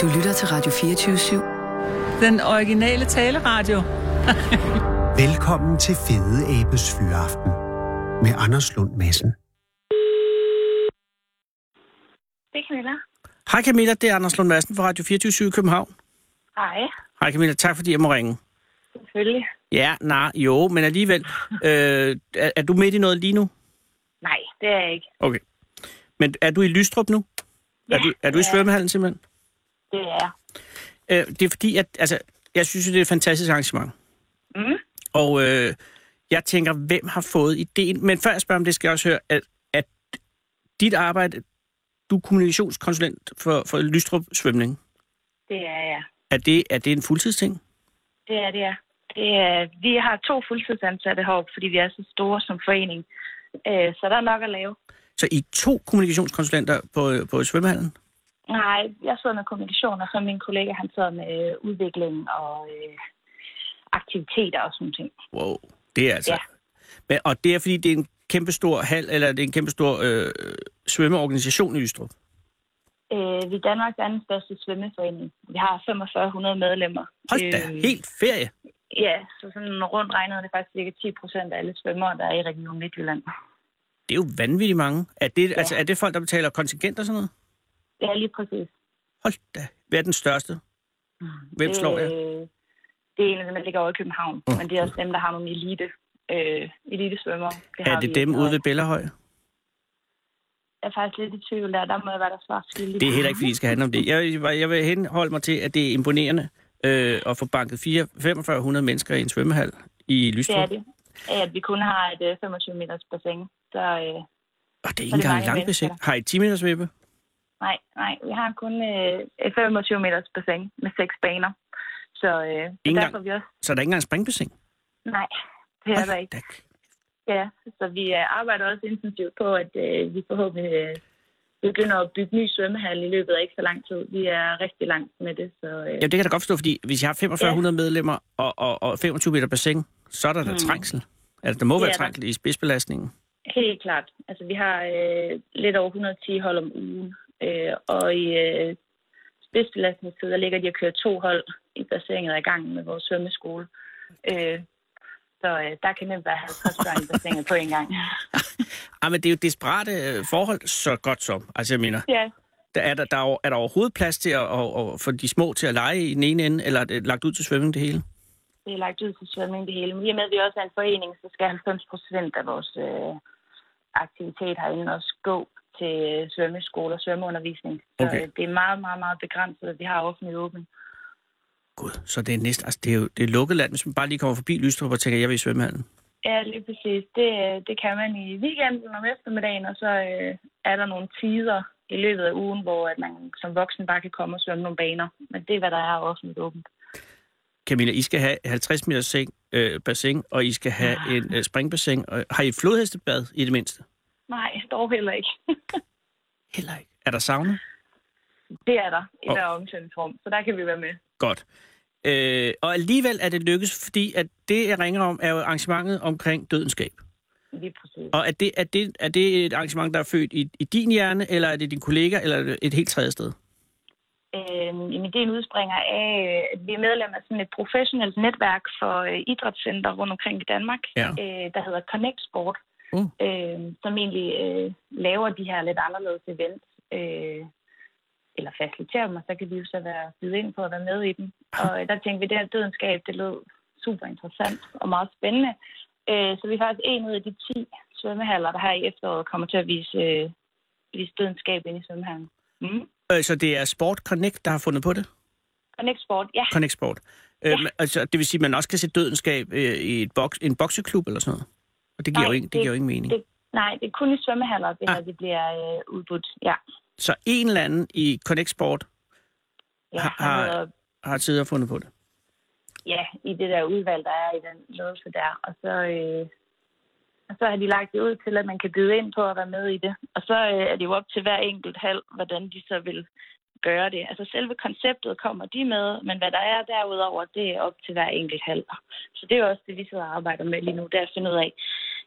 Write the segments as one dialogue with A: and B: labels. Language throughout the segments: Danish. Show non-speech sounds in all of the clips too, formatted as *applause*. A: Du lytter til Radio 24 /7.
B: Den originale taleradio.
C: Velkommen til Fede Abes Fyraften med Anders Lund Madsen.
D: Det er Camilla.
E: Hej Camilla, det er Anders Lund Madsen fra Radio 24 i København.
D: Hej,
E: Hej Camilla, tak fordi jeg må ringe.
D: selvfølgelig.
E: Ja, nej, jo, men alligevel. Øh, er, er du midt i noget lige nu?
D: Nej, det er jeg ikke.
E: Okay. Men er du i Lystrup nu? Ja, er du, er du i svømmehallen simpelthen?
D: Det er jeg.
E: Øh, det er fordi, at, altså, jeg synes jo, det er et fantastisk arrangement.
D: Mhm.
E: Og øh, jeg tænker, hvem har fået ideen? Men før jeg spørger om det, skal jeg også høre, at, at dit arbejde, du er kommunikationskonsulent for, for Lystrup Svømning,
D: Det er jeg.
E: er det, er det en fuldtidsting?
D: Det er det, jeg. det er. Vi har to fuldtidsansatte heroppe, fordi vi er så store som forening. Øh, Så der er nok at lave.
E: Så I er to kommunikationskonsulenter på, på svømmehallen?
D: Nej, jeg sidder med kommunikation, og så min kollega, han sidder med øh, udvikling og øh, aktiviteter og sådan ting.
E: Wow, det er altså...
D: Ja.
E: Men, og det er, fordi det er en kæmpe stor hal, eller det er en kæmpe stor øh, svømmeorganisation i Lystrup?
D: Øh, Vi er Danmarks anden største svømmeforening. Vi har 4500 medlemmer.
E: Hold da,
D: Øh,
E: helt ferie.
D: Ja, så sådan rundt regnet er det faktisk cirka 10 procent af alle svømmere, der er i Region Midtjylland.
E: Det er jo vanvittigt mange. Er det, ja. altså, er det folk, der betaler kontingent og sådan noget?
D: Ja, lige præcis.
E: Hold da. Hvad er den største? Hvem slår jeg?
D: Øh, Det er en af dem, der ligger over i København, men det er også dem, der har nogle elite, øh, elitesvømmer. Det
E: Er
D: har
E: det
D: vi
E: dem
D: ikke,
E: ude
D: og
E: ved Bellahøj?
D: Jeg er faktisk lidt i tvivl der, der må jeg være der svar skyldig.
E: Det er heller ikke, fordi det skal handle om det. Jeg, jeg vil henholde mig til, at det er imponerende øh, at få banket 4 4500 mennesker i en svømmehal i
D: Det er
E: Lystrup.
D: det. Af, At vi kun har et øh, 25 meters bassin. Så øh,
E: Og det er ikke
D: er det
E: engang
D: mange
E: langt
D: mennesker,
E: besæt. Har I 10 minutters vippe?
D: nej, nej, vi har kun øh, et 25 meters bassin med seks baner. Så, øh, så
E: Ingen
D: derfor
E: gang-
D: er vi også...
E: Så er der ikke engang springbassin?
D: Nej, det er der
E: Hold
D: ikke.
E: da.
D: Ja, så vi øh, arbejder også intensivt på, at øh, vi forhåbentlig øh, begynder at bygge ny svømmehal i løbet af ikke så lang tid. Vi er rigtig langt med det, så... Øh,
E: Jamen, det kan jeg da godt forstå, fordi hvis jeg har 4500 medlemmer og, og, og 25 meter bassin, så er der da trængsel. Altså, der må
D: Mm. Det
E: være
D: er der.
E: trængsel i spidsbelastningen.
D: Helt klart. Altså, vi har øh, lidt over 110 hold om ugen, øh, og i øh, spidsbelastningstid, der ligger de og kører to hold i bassinet ad gangen med vores svømmeskole. Øh, så øh, der kan nemt være 50 børn i bassinet på en gang.
E: Ah, men det er jo desperate øh, forhold, så godt som. Altså, jeg mener,
D: Ja,
E: der er, der, der, er over- er der overhovedet plads til at, at, at få de små til at lege i den ene ende, eller er det lagt ud til svømning det hele?
D: det er lagt ud til svømning det hele. Men i og med, at vi også er en forening, så skal 90 procent af vores øh, aktivitet herinde også gå til øh, svømmeskole og svømmeundervisning. Så
E: Okay.
D: øh, det er meget, meget, meget begrænset, at vi har offentlig åben.
E: Gud, så det er næsten, altså det er jo det er lukket land, hvis man bare lige kommer forbi Lystrup og tænker, jeg vil i svømmehallen.
D: Ja, lige præcis. Det, øh, det kan man i weekenden om eftermiddagen, og så øh, er der nogle tider i løbet af ugen, hvor at man som voksen bare kan komme og svømme nogle baner. Men det er, hvad der er offentligt åbent.
E: Camilla, I skal have 50 meter seng, øh, bassin, og I skal have
D: Ah.
E: en øh, springbassin. Og, har I et flodhestebad i det mindste?
D: Nej, dog heller ikke.
E: Heller ikke. Er der sauna?
D: Det er der i
E: Og-
D: hver omklædningsrum, så der kan vi være med.
E: Godt. Øh, og alligevel er det lykkedes, fordi at det, jeg ringer om, er jo arrangementet omkring dødenskab.
D: Lige præcis.
E: Og er det, er det, er det et arrangement, der er født i, i din hjerne, eller er det din kollega, eller er det et helt tredje sted?
D: Øh, min idé udspringer af, øh, at vi er medlem af sådan et professionelt netværk for øh, idrætscenter rundt omkring i Danmark,
E: Ja.
D: øh, der hedder Connect Sport,
E: Uh.
D: øh, som egentlig øh, laver de her lidt anderledes events, øh, eller faciliterer dem, og så kan vi jo så være byde ind på at være med i dem.
E: Ah.
D: Og øh, der tænkte vi, at det her dødenskab, det lød super interessant og meget spændende. Øh, så vi er faktisk en ud af de 10 svømmehaller, der her i efteråret kommer til at vise, øh, vise dødenskab ind i svømmehallen. Mm.
E: Øh, så det er Sport Connect, der har fundet på det?
D: Connect Sport, ja.
E: Connect Sport. Øh, men, altså, det vil sige, at man også kan se dødenskab øh, i et boks, en bokseklub eller sådan noget? Og det giver,
D: Nej,
E: jo, ikke, det,
D: det-
E: giver jo ingen mening. Det.
D: Det, nej, det er kun i svømmehaller, det
E: Ah.
D: her det bliver øh, udbudt. Ja,
E: Så en eller anden i Connect Sport
D: ja,
E: Har-
D: han
E: har-
D: hedder,
E: har tidligere fundet på det.
D: ja, i det der udvalg, der er i den ledelse der. Og så, øh, og så har de lagt det ud til, at man kan byde ind på at være med i det. Og så øh, er det jo op til hver enkelt halv, hvordan de så vil gøre det. Altså selve konceptet kommer de med, men hvad der er derudover, det er op til hver enkelt halv. Så det er jo også det, vi sidder og arbejder med lige nu, det er at finde ud af,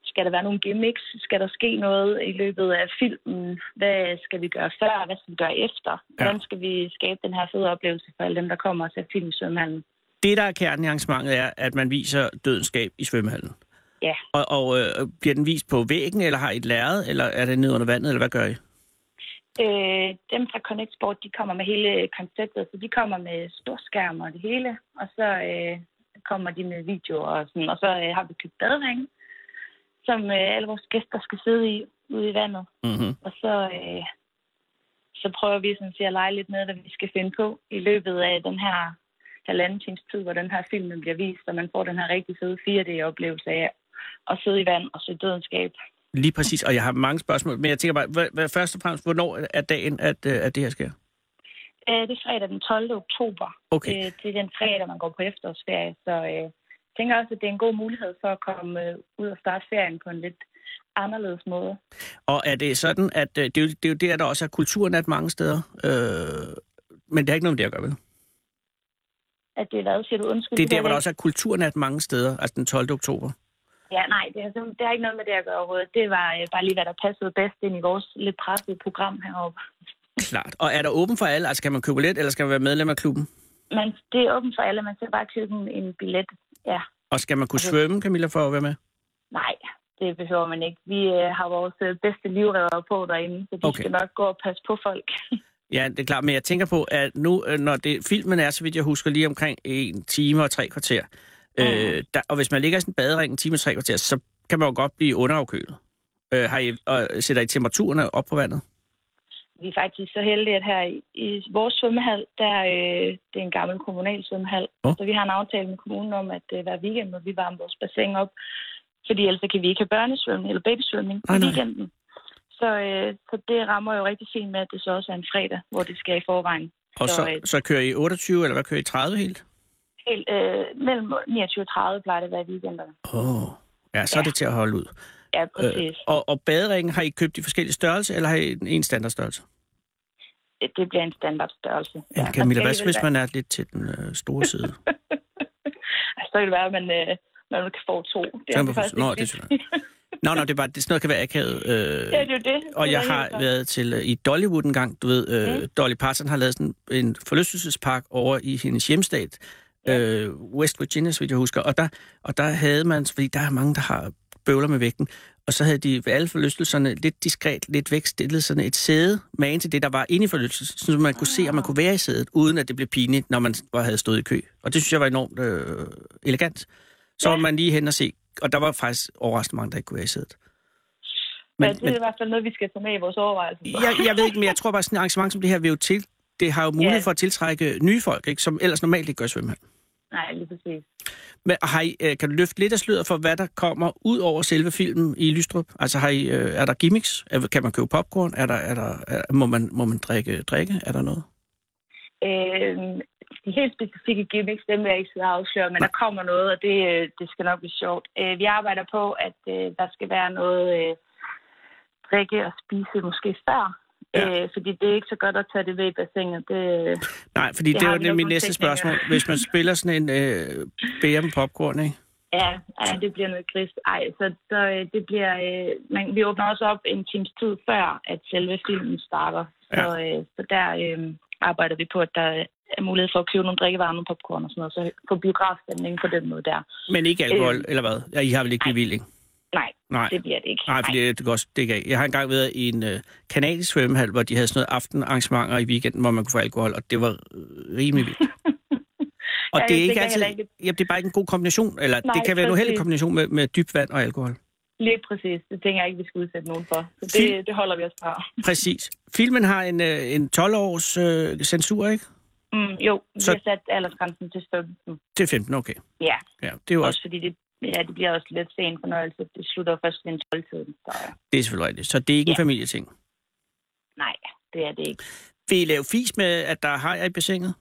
D: Skal der være nogle gimmicks? Skal der ske noget i løbet af filmen? Hvad skal vi gøre før? Hvad skal vi gøre efter? Hvordan skal vi skabe den her fede oplevelse for alle dem, der kommer og ser film i svømmehallen?
E: Det, der er kernen i arrangementet, er, at man viser dødenskab i svømmehallen.
D: Ja,
E: Og, og øh, bliver den vist på væggen, eller har I et lærred, eller er det nede under vandet, eller hvad gør I?
D: Øh, dem fra Connect Sport, de kommer med hele konceptet, så de kommer med storskærm og det hele, og så øh, kommer de med videoer og sådan, og så øh, har vi købt badring, som øh, alle vores gæster skal sidde i ude i vandet,
E: Mm-hmm.
D: og så, øh, så prøver vi sådan set at lege lidt med, hvad vi skal finde på i løbet af den her halvanden times tid, hvor den her film bliver vist, og man får den her rigtig fede 4D-oplevelse af at sidde i vand og se dødenskab.
E: Lige præcis, og jeg har mange spørgsmål, men jeg tænker bare, hvad, hvad, først og fremmest, hvornår er dagen, at, øh, at det her sker?
D: Øh, det er fredag den 12. oktober.
E: Okay.
D: Øh, det er den fredag, man går på efterårsferie, så øh, jeg tænker også, at det er en god mulighed for at komme øh, ud og starte ferien på en lidt anderledes måde.
E: Og er det sådan, at øh, det, er jo, det er jo der, der også er kulturnat mange steder, øh, men det har ikke noget med det at gøre, vel?
D: At det er hvad, siger du undskyld?
E: Det er der, hvor
D: hvad
E: der også er kulturnat mange steder, altså den 12. oktober.
D: Ja, nej, det har, simpelthen- det har ikke noget med det at gøre overhovedet. Det var øh, bare lige, hvad der passede bedst ind i vores lidt pressede program heroppe.
E: Klart. Og er der åben for alle? Altså kan man købe billet, eller skal man være medlem af klubben?
D: Men det er åbent for alle, man skal bare købe en, en billet. Ja,
E: Og skal man kunne
D: Okay.
E: svømme, Camilla, for at være med?
D: nej, det behøver man ikke. Vi øh, har vores øh, bedste livredder på derinde, så de
E: Okay.
D: okay. skal nok gå og passe på folk.
E: Ja, det er klart, men jeg tænker på, at nu, øh, når det, filmen er, så vidt jeg husker, lige omkring en time og tre kvarter, øh, der, og hvis man ligger i sådan en badering en time og tre kvarter, så kan man jo godt blive underafkølet. Øh, har I, og sætter I temperaturerne op på vandet?
D: vi er faktisk så heldige, at her i, i vores svømmehal, der øh, det er en gammel kommunal svømmehal,
E: Åh.
D: oh. så vi har en aftale med kommunen om, at øh, hver weekend må vi varme vores bassin op, fordi ellers så kan vi ikke have børnesvømning eller babysvømning i
E: Nej, nej.
D: weekenden. Så, øh, så det rammer jo rigtig fint med, at det så også er en fredag, hvor det skal i forvejen.
E: Og
D: Så,
E: så,
D: øh,
E: så kører I 28, eller hvad kører I 30 helt?
D: Helt, øh, mellem 29 og 30 plejer det at være i weekenderne.
E: Åh, oh. ja, så er det til at holde ud.
D: Ja, præcis.
E: og, og baderingen, har I købt i forskellige størrelser, eller har I en- en standardstørrelse?
D: Øh. Det bliver en standardstørrelse.
E: Ja,
D: man
E: Camilla,
D: skal alligevel
E: hvad hvis
D: være-
E: man er lidt til den øh, store side?
D: Altså, så kan det være, at man, øh, man kan få to. Det altså
E: Så kan man få-
D: faktisk
E: Nå,
D: ikke
E: det
D: fedt.
E: synes Nå, nå, det er bare, det, sådan noget kan være akavet. Øh,
D: *laughs* Ja, det er jo det.
E: og
D: Det er
E: jeg
D: helt
E: har
D: klart.
E: været til øh, i Dollywood en gang, du ved, øh, Dolly Parton har lavet sådan en forlystelsespark over i hendes hjemstat, øh, West Virginia, så vidt jeg husker, og der, og der havde man, fordi der er mange, der har bøvler med vægten, og så havde de ved alle forlystelserne lidt diskret, lidt væk stillet sådan et sæde med til det, der var inde i forlystelsen, så man kunne se, om man kunne være i sædet, uden at det blev pinligt, når man var- havde stået i kø. Og det synes jeg var enormt øh, elegant. Så var man lige hen og se, og der var faktisk overraskende mange, der ikke kunne være i sædet.
D: Men, ja, det er men, i hvert fald noget, vi skal tage med i vores overvejelser.
E: jeg, jeg ved ikke, men jeg tror bare, sådan et arrangement som det her vil jo til, det har jo mulighed
D: Ja.
E: for at tiltrække nye folk, ikke, som ellers normalt ikke gør svømmehal.
D: Nej, lige præcis.
E: Men har I, øh, kan du løfte lidt af sløret for, hvad der kommer ud over selve filmen i Lystrup? Altså har I, øh, er der gimmicks? Er- Kan man købe popcorn? Er der, er der, er, må, man, må man drikke, drikke? Er der noget?
D: Øh, de helt specifikke gimmicks, dem vil jeg ikke sidde og afsløre, men der kommer noget, og det, øh, det skal nok blive sjovt. Øh, vi arbejder på, at øh, der skal være noget øh, drikke og spise måske før.
E: Ja.
D: Ja. Øh, fordi det er ikke så godt at tage det ved i bassinet. Det, øh,
E: Nej, fordi det,
D: Det
E: det
D: har
E: var
D: vi
E: nemlig
D: nok
E: mit
D: nogle
E: næste
D: teknikere.
E: spørgsmål. Hvis man spiller sådan en øh, bære med popcorn, ikke?
D: ja, ja, det bliver noget grist. Ej, så, så øh, det bliver... Øh, man, vi åbner også op en times tid før, at selve filmen starter. Ja. Så, øh, så der øh, arbejder vi på, at der er mulighed for at købe nogle drikkevarer, nogle popcorn og sådan noget, så få biografstemningen på den måde der.
E: men ikke alkohol,
D: Øh.
E: eller hvad? Ja, I har vel ikke bevilling?
D: Nej,
E: Nej.
D: det bliver det ikke.
E: Nej, fordi det, det, går, det kan ikke. Jeg har engang været i en øh, kanadisk svømmehal, hvor de havde sådan noget aftenarrangementer i weekenden, hvor man kunne få alkohol, og det var øh, rimelig
D: *laughs*
E: vildt. Og
D: Ja,
E: det er
D: det
E: ikke
D: kan jeg
E: altid,
D: heller ikke.
E: jamen, det er bare ikke en god kombination, eller Nej,
D: Nej,
E: det kan være en uheldig
D: præcis.
E: kombination med, med dybt vand og alkohol.
D: Lige præcis. Det tænker jeg ikke, vi skal udsætte nogen for. Så
E: Fint.
D: det, det holder vi os fra.
E: Præcis. Filmen har en, øh, en 12-års øh, censur, ikke?
D: Mm, jo, så...
E: Så-
D: vi har sat aldersgrænsen til 15.
E: Det er 15, okay.
D: Ja,
E: Ja, det er jo
D: også
E: også,
D: fordi det, ja, det bliver også lidt sen fornøjelse. Det slutter jo først ved en 12-tiden. Så øh,
E: det er selvfølgelig rigtigt. Så det er ikke ja. en familieting.
D: nej, det er det ikke.
E: Vil I lave fis med, at der har jeg i bassinet?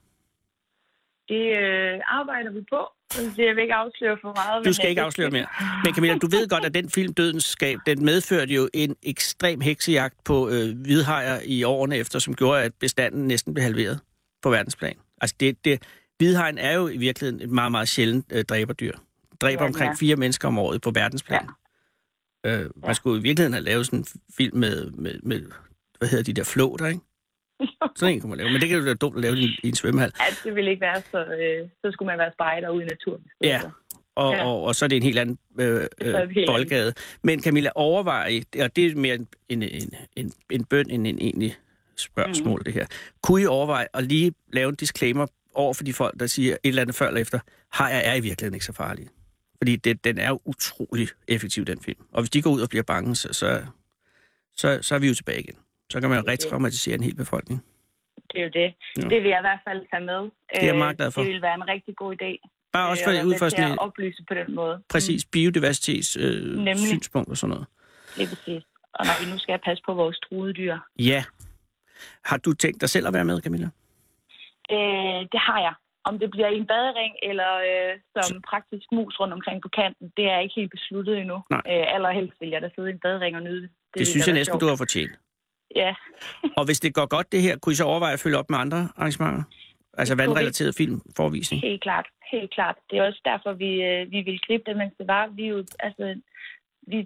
D: Det øh, arbejder vi på. Så Jeg vil ikke afsløre for meget.
E: Du
D: men,
E: skal
D: øh,
E: ikke
D: det-
E: afsløre mere.
D: *laughs*
E: Men Camilla, du ved godt, at den film Dødens Skab, den medførte jo en ekstrem heksejagt på øh, hvidhajer i årene efter, som gjorde, at bestanden næsten blev halveret på verdensplan. Altså, det, det, hvidhajen er jo i virkeligheden et meget, meget sjældent øh, dræberdyr. Dræber
D: Ja,
E: omkring
D: ja.
E: fire mennesker om året på verdensplan. Øh, man skulle i virkeligheden have lavet sådan en film med, med, med hvad hedder de der flåter, ikke? Sådan en kunne man lave, men det kan jo være dumt at lave i en, i en svømmehal.
D: Altså, det ville ikke være, så, øh, så skulle man være spejder ude i naturen.
E: Ja,
D: Så-
E: og,
D: Ja.
E: og, og så er det en helt anden øh,
D: er en
E: øh,
D: helt
E: boldgade. Men Camilla, overvej, I- og det er mere en, en, en, en, en bøn end en egentlig spørgsmål,
D: Mhm.
E: mm. det her. Kunne I overveje at lige lave en disclaimer over for de folk, der siger et eller andet før eller efter, hajer er i virkeligheden ikke så farlige? Fordi det, den er jo utrolig effektiv, den film. Og hvis de går ud og bliver bange, så, så, så, så er vi jo tilbage igen. Så kan man jo rigtig traumatisere en hel befolkning.
D: Det er jo det.
E: Ja.
D: Ja. Det vil jeg i hvert fald tage med.
E: er jeg
D: Øh,
E: meget glad for.
D: Det ville være en rigtig god idé.
E: Bare også
D: øh,
E: for,
D: at være
E: ud
D: med
E: fra
D: til
E: sådan
D: at
E: et
D: oplyse på den måde.
E: præcis biodiversitets øh,
D: Nemlig.
E: synspunkt og sådan noget.
D: Lige præcis. Og når vi nu skal passe på vores truede dyr.
E: Ja. Har du tænkt dig selv at være med, Camilla?
D: Øh, det har jeg. Om det bliver i en badering eller øh, som praktisk mus rundt omkring på kanten, det er ikke helt besluttet endnu.
E: Nej.
D: Øh, allerhelst vil jeg da sidde i en badering og nyde det.
E: Det,
D: ville
E: det synes
D: da
E: jeg
D: være
E: næsten,
D: sjovt.
E: du har fortjent.
D: Ja,
E: Og hvis det går godt, det her, kunne I så overveje at følge op med andre arrangementer? Altså
D: Det kunne vi.
E: vandrelateret film, forvisning?
D: helt klart. Helt klart. Det er også derfor, vi, øh, vi vil gribe det, mens det var. Vi, er jo, altså, vi,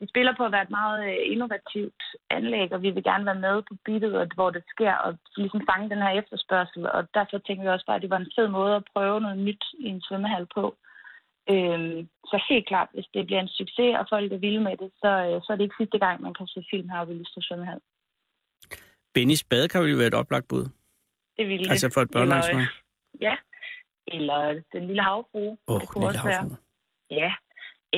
D: vi spiller på at være et meget øh, innovativt anlæg, og vi vil gerne være med på beatet, og hvor det sker, og ligesom fange den her efterspørgsel. Og derfor tænkte vi også bare, at det var en fed måde at prøve noget nyt i en svømmehal på. Øhm, så helt klart, hvis det bliver en succes, og folk er vilde med det, så, øh, så er det ikke sidste gang, man kan se film her i Lyster Svømmehal.
E: Bennys badekar ville jo være et oplagt bud.
D: Det ville
E: Altså for et børnearrangement.
D: Ja. Eller Den Lille Havfrue.
E: Åh,
D: det
E: oh,
D: kunne
E: lille
D: også være.
E: havfru.
D: Ja.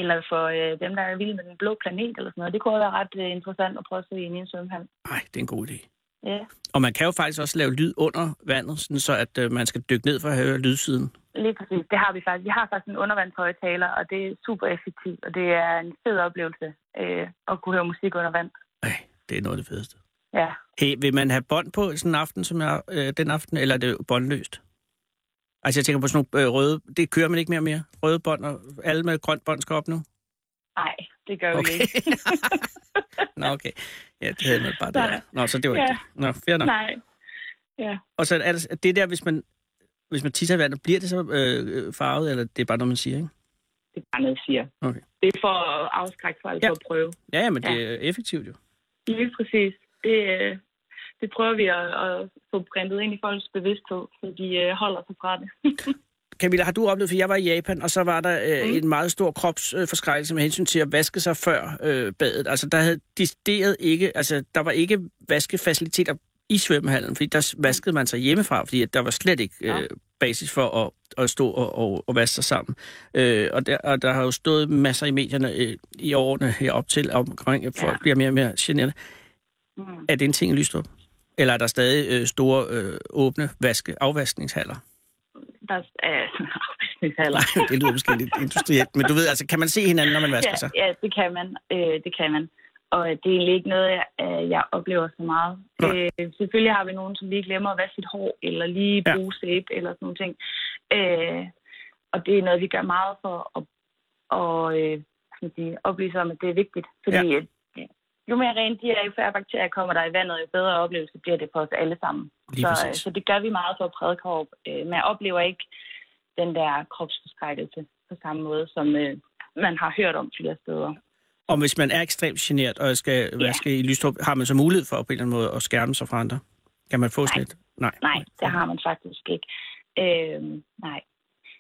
D: Eller for øh, dem, der er vilde med den blå planet eller sådan noget. Det kunne også være ret øh, interessant at prøve at se ind i en svømmehal.
E: Nej, det er en god idé.
D: Ja,
E: Og man kan jo faktisk også lave lyd under vandet, sådan så at øh, man skal dykke ned for at høre lydsiden.
D: lige præcis. Det har vi faktisk. Vi har faktisk en undervandshøjtaler, og det er super effektivt, og det er en fed oplevelse øh, at kunne høre musik under vand.
E: Ej, det er noget af det fedeste.
D: Ja.
E: Hey, vil man have bånd på sådan en aften, som jeg, øh, den aften, eller er det båndløst? Altså jeg tænker på sådan nogle øh, røde, det kører man ikke mere og mere. Røde bånd, og alle med grønt bånd skal op nu.
D: Nej, det gør vi
E: Okay.
D: ikke.
E: *laughs* Nå, okay. Ja, det havde man bare
D: Nej.
E: der. Nå, så det var
D: Ja.
E: ikke det. Nå, fair nok.
D: Nej. Ja.
E: Og så er det, er det der, hvis man, hvis man tisser i vandet, bliver det så øh, øh, farvet, eller det er bare noget, man siger, ikke?
D: Det er bare noget, jeg siger.
E: Okay.
D: Det er for at afskrække folk
E: Ja.
D: ja. for at prøve.
E: Ja, ja, men det
D: Ja.
E: er effektivt jo.
D: Lige præcis. Det, øh, det prøver vi at, at få printet ind i folks bevidsthed, så de øh, holder sig fra det.
E: Camilla, har du oplevet, for jeg var i Japan, og så var der øh,
D: Mm.
E: en meget stor kropsforskrækkelse øh, med hensyn til at vaske sig før øh, badet. Altså, der havde decideret ikke, altså, der var ikke vaskefaciliteter i svømmehallen, fordi der s- vaskede man sig hjemmefra, fordi at der var slet ikke
D: Ja.
E: øh, basis for at, at stå og, og, og vaske sig sammen. Øh, og, der, og der har jo stået masser i medierne øh, i årene herop til, omkring, at folk
D: Ja.
E: bliver mere og mere generet.
D: Mm.
E: Er det en ting i Lystrup? Eller er der stadig øh, store, øh, åbne vaske, afvaskningshaller?
D: Der er afvaskningshaller.
E: Nej, *laughs* det lyder måske lidt industrielt, men du ved, altså, kan man se hinanden, når man vasker sig?
D: Ja, ja, det kan man. Øh, det kan man. Og øh, det er egentlig ikke noget, jeg, øh, jeg oplever så meget.
E: Nej.
D: Øh, selvfølgelig har vi nogen, som lige glemmer at vaske sit hår, eller lige
E: Ja.
D: bruge sæbe, eller sådan nogle ting. Øh, og det er noget, vi gør meget for at, at øh, hvad skal man sige, oplyse om, at det er vigtigt. Fordi ja. jo mere rent de er, jo færre bakterier kommer der i vandet, jo bedre oplevelse bliver det for os alle sammen.
E: Lige
D: så, øh,
E: præcis.
D: så det gør vi meget for at prædike op. Øh, man oplever ikke den der kropsforskrækkelse på samme måde, som øh, man har hørt om flere steder.
E: Og hvis man er ekstremt generet og skal
D: Ja.
E: vaske i Lystrup, har man så mulighed for på en eller anden måde at skærme sig fra andre? Kan man få sådan et? Nej.
D: Nej, det har man faktisk ikke. Øh, nej.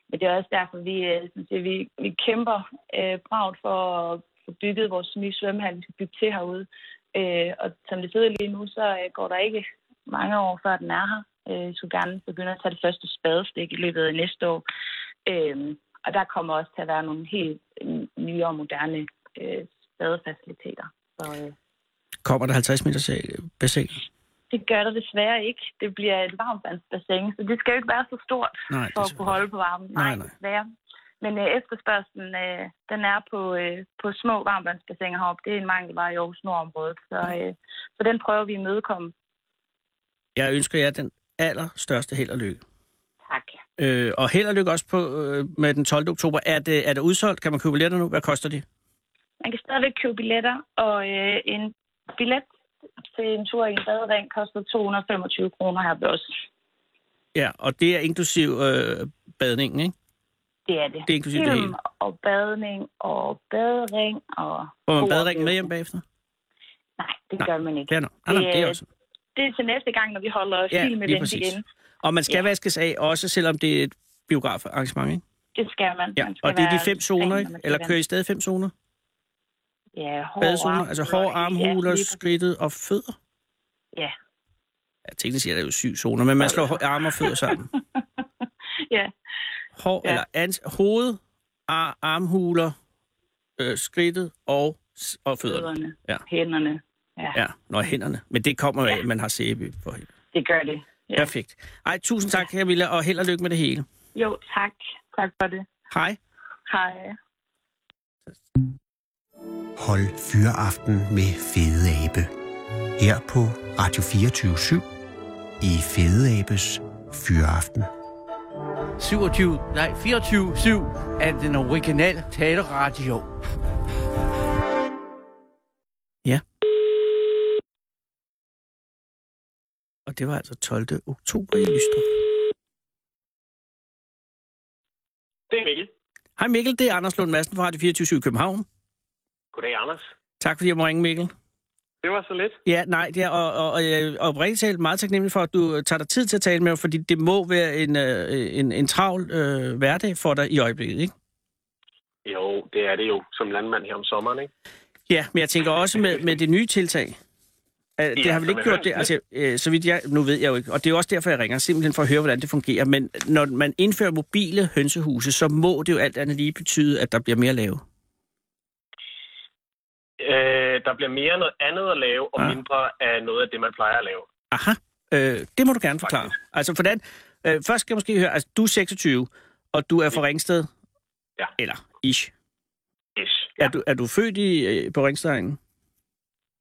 D: Men det er også derfor, vi, øh, sådan siger, vi, vi kæmper øh, bragt for at få bygget vores nye svømmehal, vi skal bygge til herude. Øh, og som det sidder lige nu, så øh, går der ikke mange år, før den er her. Øh, vi skulle gerne begynde at tage det første spadestik i løbet af næste år. Øh, og der kommer også til at være nogle helt øh, nye og moderne øh, spadefaciliteter. Så, øh,
E: Kommer der 50 meter bassin?
D: det gør der desværre ikke. Det bliver et varmvandsbassin, så det skal jo ikke være så stort
E: Nej,
D: for
E: det
D: at kunne holde på varmen.
E: Nej, nej.
D: desværre. Men øh, efterspørgselen, øh, den er på, øh, på små varmvandsbassiner heroppe. Det er en mangelvare i Aarhus Nordområdet, så,
E: Mm.
D: øh, så den prøver vi at imødekomme.
E: Jeg ønsker jer den allerstørste held og lykke.
D: Tak.
E: Øh, og held og lykke også på, øh, med den 12. oktober. Er det, er det udsolgt? Kan man købe billetter nu? Hvad koster de?
D: Man kan stadigvæk købe billetter, og øh, en billet til en tur i en badering koster 225 kroner her ved os.
E: Ja, og det er inklusiv øh, badningen, ikke?
D: Det er det.
E: Det er inklusive det hele.
D: og badning og badering og...
E: Får man badringen med hjem bagefter?
D: Nej, det
E: Nej,
D: gør man ikke.
E: Det er nok. Ah, det, det er
D: Det-
E: også.
D: Det er til næste gang, når vi holder
E: Ja,
D: ja, film
E: lige
D: event
E: præcis.
D: igen.
E: Og man skal
D: Ja.
E: vaskes af, også selvom det er et biografarrangement, ikke?
D: Det skal man.
E: Ja,
D: man skal
E: og det er de
D: være
E: fem zoner,
D: ren,
E: ikke?
D: når man skal
E: Eller
D: være-
E: kører I stadig fem zoner?
D: Ja, hår,
E: Badezoner, altså hår,
D: ja,
E: armhuler,
D: lige præcis.
E: skridtet og fødder?
D: Ja.
E: Ja, teknisk set er der jo syv zoner, men man slår hår- arme og fødder sammen.
D: *laughs* ja,
E: Hår,
D: Ja.
E: eller ans- hoved, ar- armhuler, øh, skridtet og, s- og fødderne.
D: fødderne,
E: Ja.
D: ja. hænderne. Ja, ja,
E: Ja, når hænderne. Men det kommer jo af, at man har sæbe på hænderne.
D: det gør det. Ja.
E: Perfekt. Ej, tusind tak, Camilla, og held og lykke med det hele.
D: Jo, tak. Tak for det.
E: Hej.
D: Hej.
C: Hold Fyraften med Fede Abe. Her på Radio 24 i Fede Abes Fyraften.
F: 27, nej, 24-7 af den originale taleradio.
E: Og det var altså 12. oktober i Lystrup.
G: Det er Mikkel.
E: Hej Mikkel, det er Anders Lund Madsen fra Radio 24 i København.
G: Goddag, Anders.
E: Tak fordi jeg må ringe, Mikkel.
G: Det var så lidt.
E: Ja, nej, det er, og, og, og jeg er oprigtigt talt meget taknemmelig for, at du øh, tager dig tid til at tale med mig, fordi det må være en, øh, en, en travl øh, hverdag for dig i øjeblikket, ikke?
G: Jo, det er det jo som landmand her om sommeren, ikke?
E: Ja, men jeg tænker også med, med det nye tiltag. Øh, Det
G: Ja,
E: har vel ikke
G: som er
E: gjort det, altså, øh, så vidt jeg, nu ved jeg jo ikke, og det er jo også derfor, jeg ringer, simpelthen for at høre, hvordan det fungerer, men når man indfører mobile hønsehuse, så må det jo alt andet lige betyde, at der bliver mere lave.
G: Øh, der bliver mere noget andet at lave, og
E: Ja.
G: mindre af noget af det, man plejer at lave.
E: Aha, øh, det må du gerne forklare. Altså, hvordan, øh, først skal jeg måske høre, altså, du er 26, og du er fra Ringsted?
G: Ja.
E: Eller ish.
G: Ish.
E: Er du, er du født i, øh, på Ringstegnen?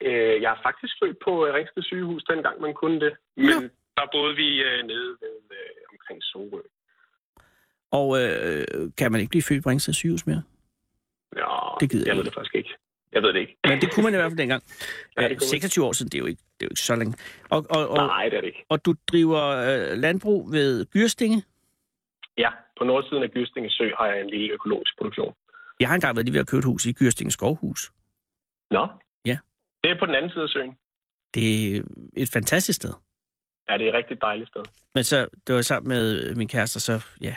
G: Øh, jeg er faktisk født på øh, Ringsted sygehus, dengang man kunne det. Men der boede vi øh, nede ved, øh, omkring Sorø.
E: Og øh, kan man ikke blive født på Ringsted sygehus mere?
G: Nå,
E: Det gider jeg
G: jeg ved
E: ikke.
G: det faktisk ikke. Jeg ved det ikke.
E: Men det kunne man i hvert fald dengang.
G: Ja, det
E: Øh,
G: kunne man.
E: 26 år siden, det er jo ikke, det er jo ikke så længe. Og, og, og,
G: Nej, det er det ikke.
E: og du driver øh, landbrug ved Gyrstinge?
G: Ja, på nordsiden af Gystinge Sø har jeg en lille økologisk produktion.
E: Jeg har engang været lige ved at købe et hus i Gyrstinge Skovhus.
G: Nå?
E: Ja.
G: Det er på den anden side af søen.
E: Det er et fantastisk sted.
G: Ja, det er et rigtig dejligt sted.
E: Men så, det var sammen med øh, min kæreste, og så, ja,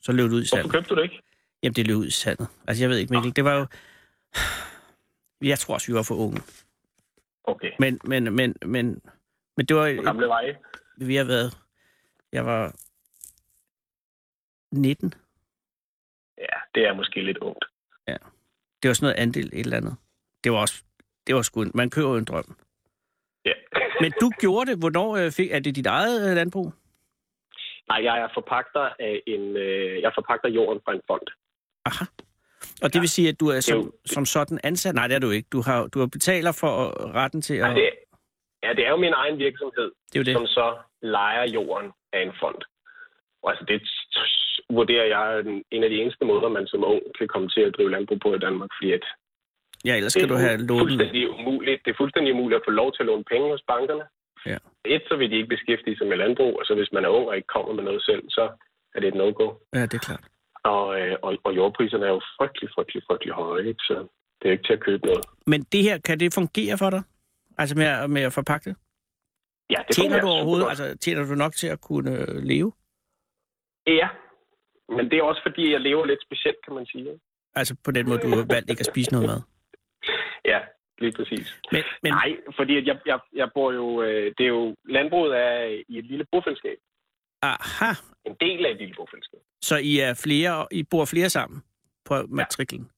E: så løb det ud i sandet.
G: Hvorfor købte du det ikke?
E: Jamen, det løb ud i sandet. Altså, jeg ved ikke, men det var jo... Jeg tror også, vi var for unge.
G: Okay.
E: Men, men, men, men, men det var...
G: På gamle veje.
E: Vi har været... Jeg var 19.
G: Ja, det er måske lidt ungt.
E: Det var sådan noget andel et eller andet. Det var også... Det var sgu... en- Man køber jo en drøm.
G: *laughs* Ja.
E: Men du gjorde det. Hvornår øh, fik... Er det dit eget øh, landbrug?
G: Nej, jeg er forpagter af en... Øh, jeg forpagter jorden fra en fond.
E: Aha. Og det vil sige, at du er som,
G: Jo.
E: som sådan ansat? Nej, det er du ikke. Du har, du har betaler for øh, retten til
G: Ja.
E: at...
G: Det, ja, det er jo min egen virksomhed,
E: Det er jo det.
G: som så leger jorden af en fond. Og altså, det t- t- vurderer jeg er den- en af de eneste måder, man som ung kan komme til at drive landbrug på i Danmark, fordi at
E: Ja, ellers
G: det
E: skal du have
G: fu-
E: lånet...
G: fuldstændig umuligt, det er fuldstændig umuligt at få lov til at låne penge hos bankerne.
E: Ja.
G: Et, så vil de ikke beskæftige sig med landbrug, og så hvis man er ung og ikke kommer med noget selv, så er det et no-go.
E: Ja, det er klart.
G: Og, øh, og, og jordpriserne er jo frygtelig, frygtelig, frygtelig høje, ikke? så det er jo ikke til at købe noget.
E: Men det her, kan det fungere for dig? Altså med, at- med at forpakke det?
G: Ja,
E: Tjener
G: det fungerer
E: du
G: super
E: overhovedet,
G: godt.
E: altså tjener du nok til at kunne øh, leve?
G: Ja, men det er også fordi, jeg lever lidt specielt, kan man sige. ikke?
E: Altså på den måde, du har valgt ikke at spise noget mad.
G: Ja, lige præcis.
E: Men, men
G: Men... Nej, fordi at jeg, jeg, jeg bor jo... øh, Det er jo... Landbruget er i et lille bofællesskab.
E: aha,
G: En del af et lille bofællesskab.
E: så I, er flere, I bor flere sammen på matriklen?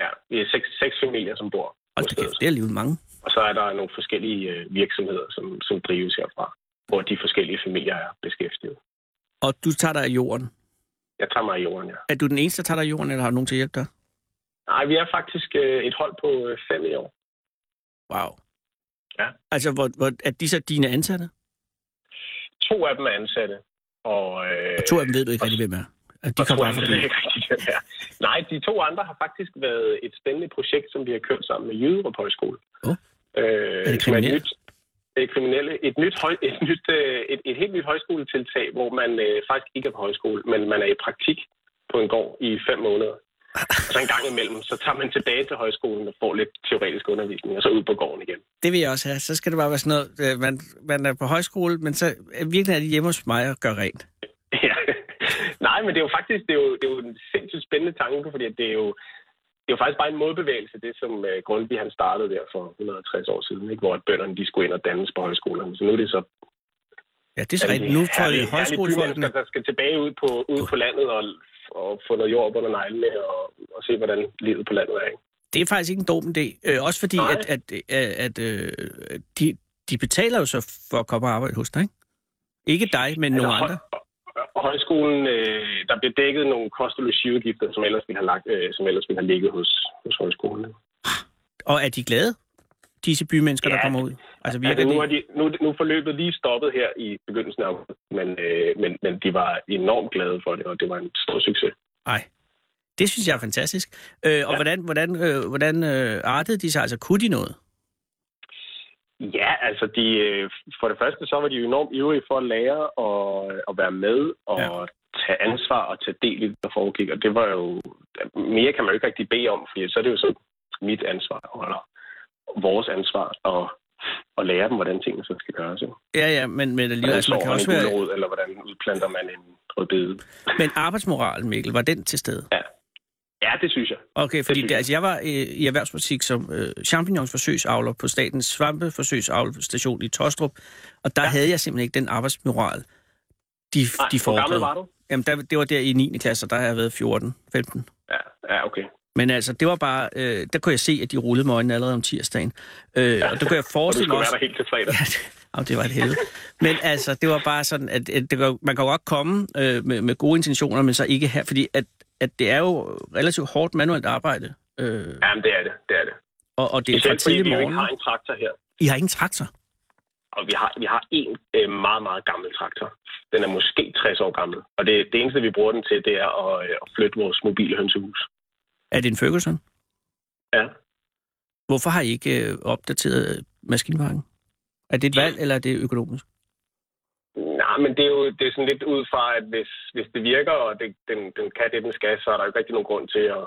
G: Ja, vi er seks, seks familier, som bor på
E: Hold da
G: stedet.
E: kæft, det er alligevel mange.
G: Og så er der nogle forskellige øh, virksomheder, som, som drives herfra, hvor de forskellige familier er beskæftiget.
E: Og du tager dig af jorden.
G: Jeg tager mig i jorden, ja.
E: Er du den eneste, der tager dig af jorden, eller har du nogen til at hjælpe dig?
G: Nej, vi er faktisk øh, et hold på øh, fem i år.
E: Wow.
G: Ja.
E: Altså, hvor, hvor, er de så dine ansatte?
G: To af dem er ansatte, og, øh,
E: Og to af dem ved du ikke rigtig, hvem er. Altså, de
G: og to
E: kommer bare
G: andre
E: forbi.
G: ved ikke rigtig, hvem er. Nej, de to andre har faktisk været et spændende projekt, som vi har kørt sammen med Jyderup Højskole.
E: Åh. Er
G: Øh,
E: det
G: som et
E: kriminelle?
G: nyt, det er kriminelle. Et, nyt, høj, et, nyt, øh, et, et helt nyt højskoletiltag, hvor man øh, faktisk ikke er på højskole, men man er i praktik på en gård i fem måneder. Og så en gang imellem, så tager man tilbage til højskolen og får lidt teoretisk undervisning, og så ud på gården igen.
E: Det vil jeg også have. Så skal det bare være sådan noget, øh, man, man er på højskole, men så øh, virkelig er de hjemme hos mig og gør rent.
G: *laughs* Ja. Nej, men det er jo faktisk det er jo, det er jo en sindssygt spændende tanke, fordi det er jo, det er jo faktisk bare en modbevægelse, det som uh, Grundtvig han startede der for 160 år siden, ikke? hvor at bønderne de skulle ind og dannes på højskolerne. Så nu er det så
E: Ja, det er så
G: alle
E: rigtigt.
G: de
E: Nu får
G: herlige-
E: det
G: herlige
E: højskolefolkene.
G: bymennesker, der skal tilbage ud på, ud på landet og, og få noget jord op under neglene og, og se, hvordan livet på landet er. Ikke?
E: Det er faktisk ikke en dum idé. Øh, også fordi,
G: Nej.
E: at, at, at, at øh, de, de betaler jo så for at komme og arbejde hos dig, ikke? Ikke dig, men nogle
G: Altså,
E: andre.
G: høj- og Højskolen, øh, der bliver dækket nogle kost- og logiudgifter, som ellers ville have, lagt, øh, som ellers ville have ligget hos, hos højskolen. ikke?
E: Og er de glade, disse bymennesker, der
G: Ja,
E: kommer ud? Altså
G: Altså,
E: virker
G: nu, er
E: det?
G: de, nu, nu er forløbet lige stoppet her i begyndelsen af august, men, øh, men, men de var enormt glade for det, og det var en stor succes.
E: Nej. Det synes jeg er fantastisk. Øh, og hvordan, hvordan, øh, hvordan øh, artede de sig? Altså kunne de noget?
G: Ja, altså de, øh, for det første så var de jo enormt ivrige for at lære og, og være med og
E: Ja.
G: ja. tage ansvar og tage del i det, der foregik, og det var jo, mere kan man jo ikke rigtig bede om, fordi så er det jo så mit ansvar, eller vores ansvar at, at lære dem, hvordan tingene så skal gøres. ikke?
E: Ja, ja, men, men alligevel,
G: Hvordan
E: altså, man
G: slår
E: kan
G: man
E: også
G: en
E: være...
G: gulerod, eller hvordan udplanter man en rødbede.
E: Men arbejdsmoralen, Mikkel, var den til stede?
G: Ja, det synes jeg.
E: Okay, fordi
G: synes
E: det,
G: jeg.
E: altså, jeg var øh, i erhvervspolitik som øh, champignonsforsøgsavler på Statens Svampeforsøgsavlestation i Tostrup, og der ja. havde jeg simpelthen ikke den arbejdsmoral, de,
G: Nej,
E: de
G: hvor gammel
E: foredrede.
G: var du?
E: Jamen, der, det var der i 9. klasse, og der har jeg været 14, 15.
G: Ja, ja okay.
E: Men altså, det var bare... Øh, der kunne jeg se, at de rullede med øjnene allerede om tirsdagen. Øh, og der kunne jeg
G: Og du
E: forestille
G: skulle
E: mig også... *laughs*
G: være der helt til fredag.
E: Ja, det, oh, det var et helvede. Men altså, det var bare sådan, at, at det var, man kan jo godt komme øh, med, med gode intentioner, men så ikke her, fordi at, at det er jo relativt hårdt manuelt arbejde, øh,
G: Jamen, det er det. Det er det.
E: og, og det er fra
G: Specielt fordi vi
E: tidlig
G: jo ikke har
E: morgen.
G: en traktor her.
E: I har ingen traktor.
G: Og vi har, vi har en øh, meget, meget gammel traktor. Den er måske 60 år gammel. Og det, det eneste, vi bruger den til, det er at, øh, at flytte vores mobile hønsehus.
E: Er det en Ferguson?
G: Ja.
E: Hvorfor har I ikke øh, opdateret øh, maskinparken? Er det et valg, eller er det økonomisk?
G: Nej, men det er jo det er sådan lidt ud fra, at hvis, hvis det virker, og det, den, den kan det, den skal, så er der jo ikke rigtig nogen grund til at,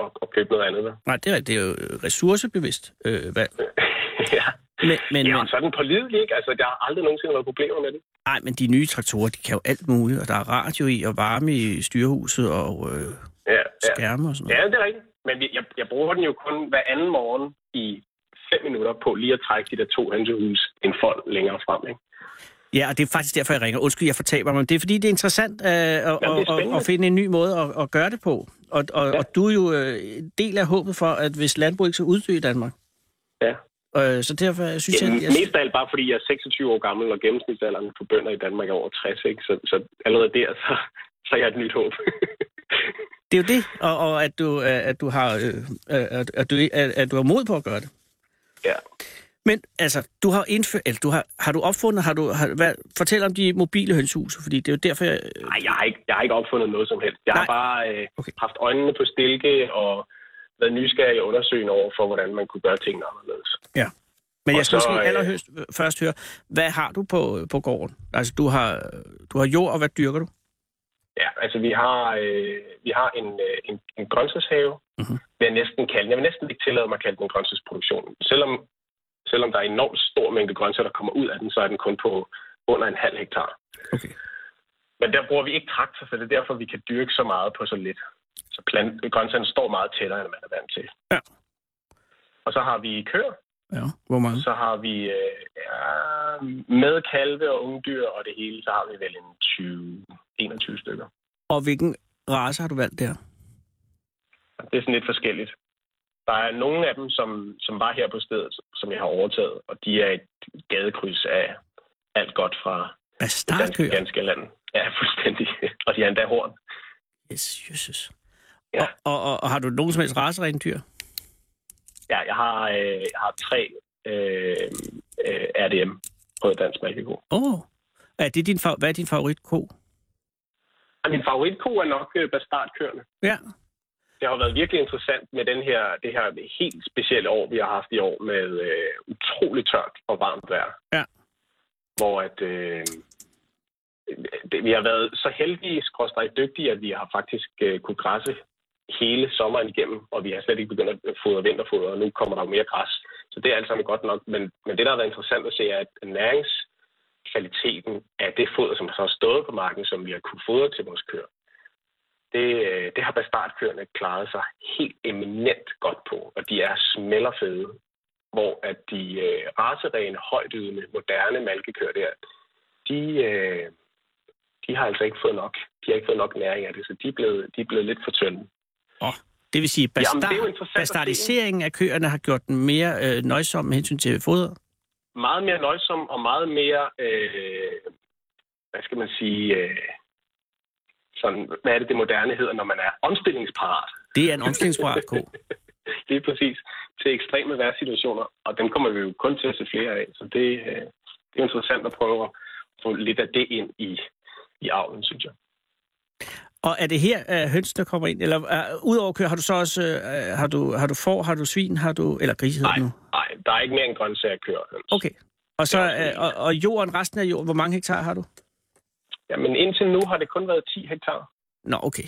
G: at, at købe noget andet. vel?
E: Nej, det er, det er jo øh, ressourcebevidst øh, valg.
G: *laughs* ja.
E: Men, men,
G: ja,
E: men,
G: og så er den pålidelig, ikke? Altså, der har aldrig nogensinde været problemer med det.
E: ej, men de nye traktorer, de kan jo alt muligt, og der er radio i, og varme i styrehuset, og øh,
G: Ja, ja.
E: skærme og sådan noget.
G: Ja, det er rigtigt. Men vi- jeg, jeg bruger den jo kun hver anden morgen i fem minutter på lige at trække de der to hønsehus en fold længere frem. Ikke?
E: Ja, og det er faktisk derfor, jeg ringer. Undskyld, jeg fortaber mig, men det er fordi, det er interessant øh, at,
G: er
E: at,
G: spændende.
E: at finde en ny måde at, at gøre det på. Og, og, ja.
G: Ja.
E: og du er jo øh, en del af håbet for, at hvis landbrug ikke så uddø i Danmark.
G: Ja.
E: Øh, så derfor jeg synes jeg...
G: Jamen,
E: jeg
G: mest af alt bare fordi jeg er 26 år gammel, og gennemsnitsalderen for bønder i Danmark er over 60. Ikke? Så, så allerede der, så, så er jeg et nyt håb. *laughs*
E: det er jo det, og, og at, du, øh, at, du har, øh, øh, at, at, du, at, at du har mod på at gøre det.
G: ja.
E: Men altså, du har indført... Eller du har, har du opfundet... Har du, har, hvad, fortæl om de mobile hønsehuse, fordi det er jo derfor, jeg... øh,
G: Nej, jeg har, ikke, jeg har ikke opfundet noget som helst. Jeg har
E: Nej.
G: bare øh,
E: Okay.
G: okay. haft øjnene på stilke og været nysgerrig og undersøgende over for, hvordan man kunne gøre tingene anderledes.
E: Men
G: Og
E: jeg skal
G: så,
E: måske
G: øh,
E: allerhøst først høre, hvad har du på, på gården? Altså, du har, du har jord, og hvad dyrker du?
G: Ja, altså vi har, øh, vi har en, øh, en, en grøntsagshave.
E: Mhm.
G: Mm-hmm. Vil jeg, næsten kalde, den. jeg vil næsten ikke tillade mig at kalde den en grøntsagsproduktion. Selvom, selvom der er en enormt stor mængde grøntsager, der kommer ud af den, så er den kun på under en halv hektar.
E: Okay.
G: Men der bruger vi ikke traktor, så det er derfor, vi kan dyrke så meget på så lidt. Så plant, grøntsagerne står meget tættere, end man er vant til.
E: Ja.
G: Og så har vi køer,
E: Ja, hvor mange?
G: så har vi øh, ja, med kalve og ungdyr og det hele, så har vi vel en 20, 21 stykker.
E: Og hvilken race har du valgt der?
G: Det er sådan lidt forskelligt. Der er nogle af dem, som, som var her på stedet, som jeg har overtaget, og de er et gadekryds af alt godt fra det danske,
E: Bastardkøer?
G: danske land. Ja, *laughs* fuldstændig. Og de har endda horn.
E: Yes, Jesus.
G: Ja.
E: Og, og, og, og, har du nogen som helst racerendyr?
G: Ja, jeg har, øh, jeg har tre øh, øh, RDM på dansk malkeko.
E: Åh. Oh. Er det din, fa- hvad er din favoritko?
G: Og Min favoritko er nok øh, bastardkøerne.
E: Ja.
G: Det har været virkelig interessant med den her, det her helt specielle år, vi har haft i år, med øh, utrolig tørt og varmt vejr.
E: Ja.
G: Hvor at... Øh, det, vi har været så heldige, skråstrej dygtige, at vi har faktisk øh, kunne græsse hele sommeren igennem, og vi har slet ikke begyndt at fodre vinterfoder, og nu kommer der jo mere græs. Så det er alt sammen godt nok, men, men det, der har været interessant at se, er, at næringskvaliteten af det foder, som så har stået på marken, som vi har kunne fodre til vores køer, det, øh, det har bastardkøerne klaret sig helt eminent godt på, og de er smellerfede, hvor at de øh, raserene, højtydende, moderne malkekøer der, de, øh, de har altså ikke fået nok. De har ikke fået nok næring af det, så de er blevet, de er blevet lidt for tynde.
E: Oh, det vil sige,
G: Jamen, det er jo
E: bastard, Jamen,
G: interessant at se.
E: bastardiseringen af køerne har gjort dem mere øh, nøjsomme med hensyn til foder.
G: meget mere nøjsom og meget mere, øh, hvad skal man sige, øh, sådan, hvad er det, det moderne hedder, når man er omstillingsparat.
E: Det er en omstillingsparat
G: *laughs*
E: ko.
G: Lige præcis til ekstreme værsituationer, og dem kommer vi jo kun til at se flere af. Så det, øh, det er interessant at prøve at få lidt af det ind i, i arven, synes jeg.
E: Og er det her uh, høns, der kommer ind? Eller uh, udover køer, har du så også uh, har du, har du får, har du svin, har du... Eller grise hedder
G: Nej,
E: det nu?
G: nej, der er ikke mere end grøntsager kører.
E: Okay. Og, så,
G: Det er også
E: uh, og, og jorden, resten af jorden, hvor mange hektar har du?
G: Jamen indtil nu har det kun været 10 hektar.
E: Nå, okay.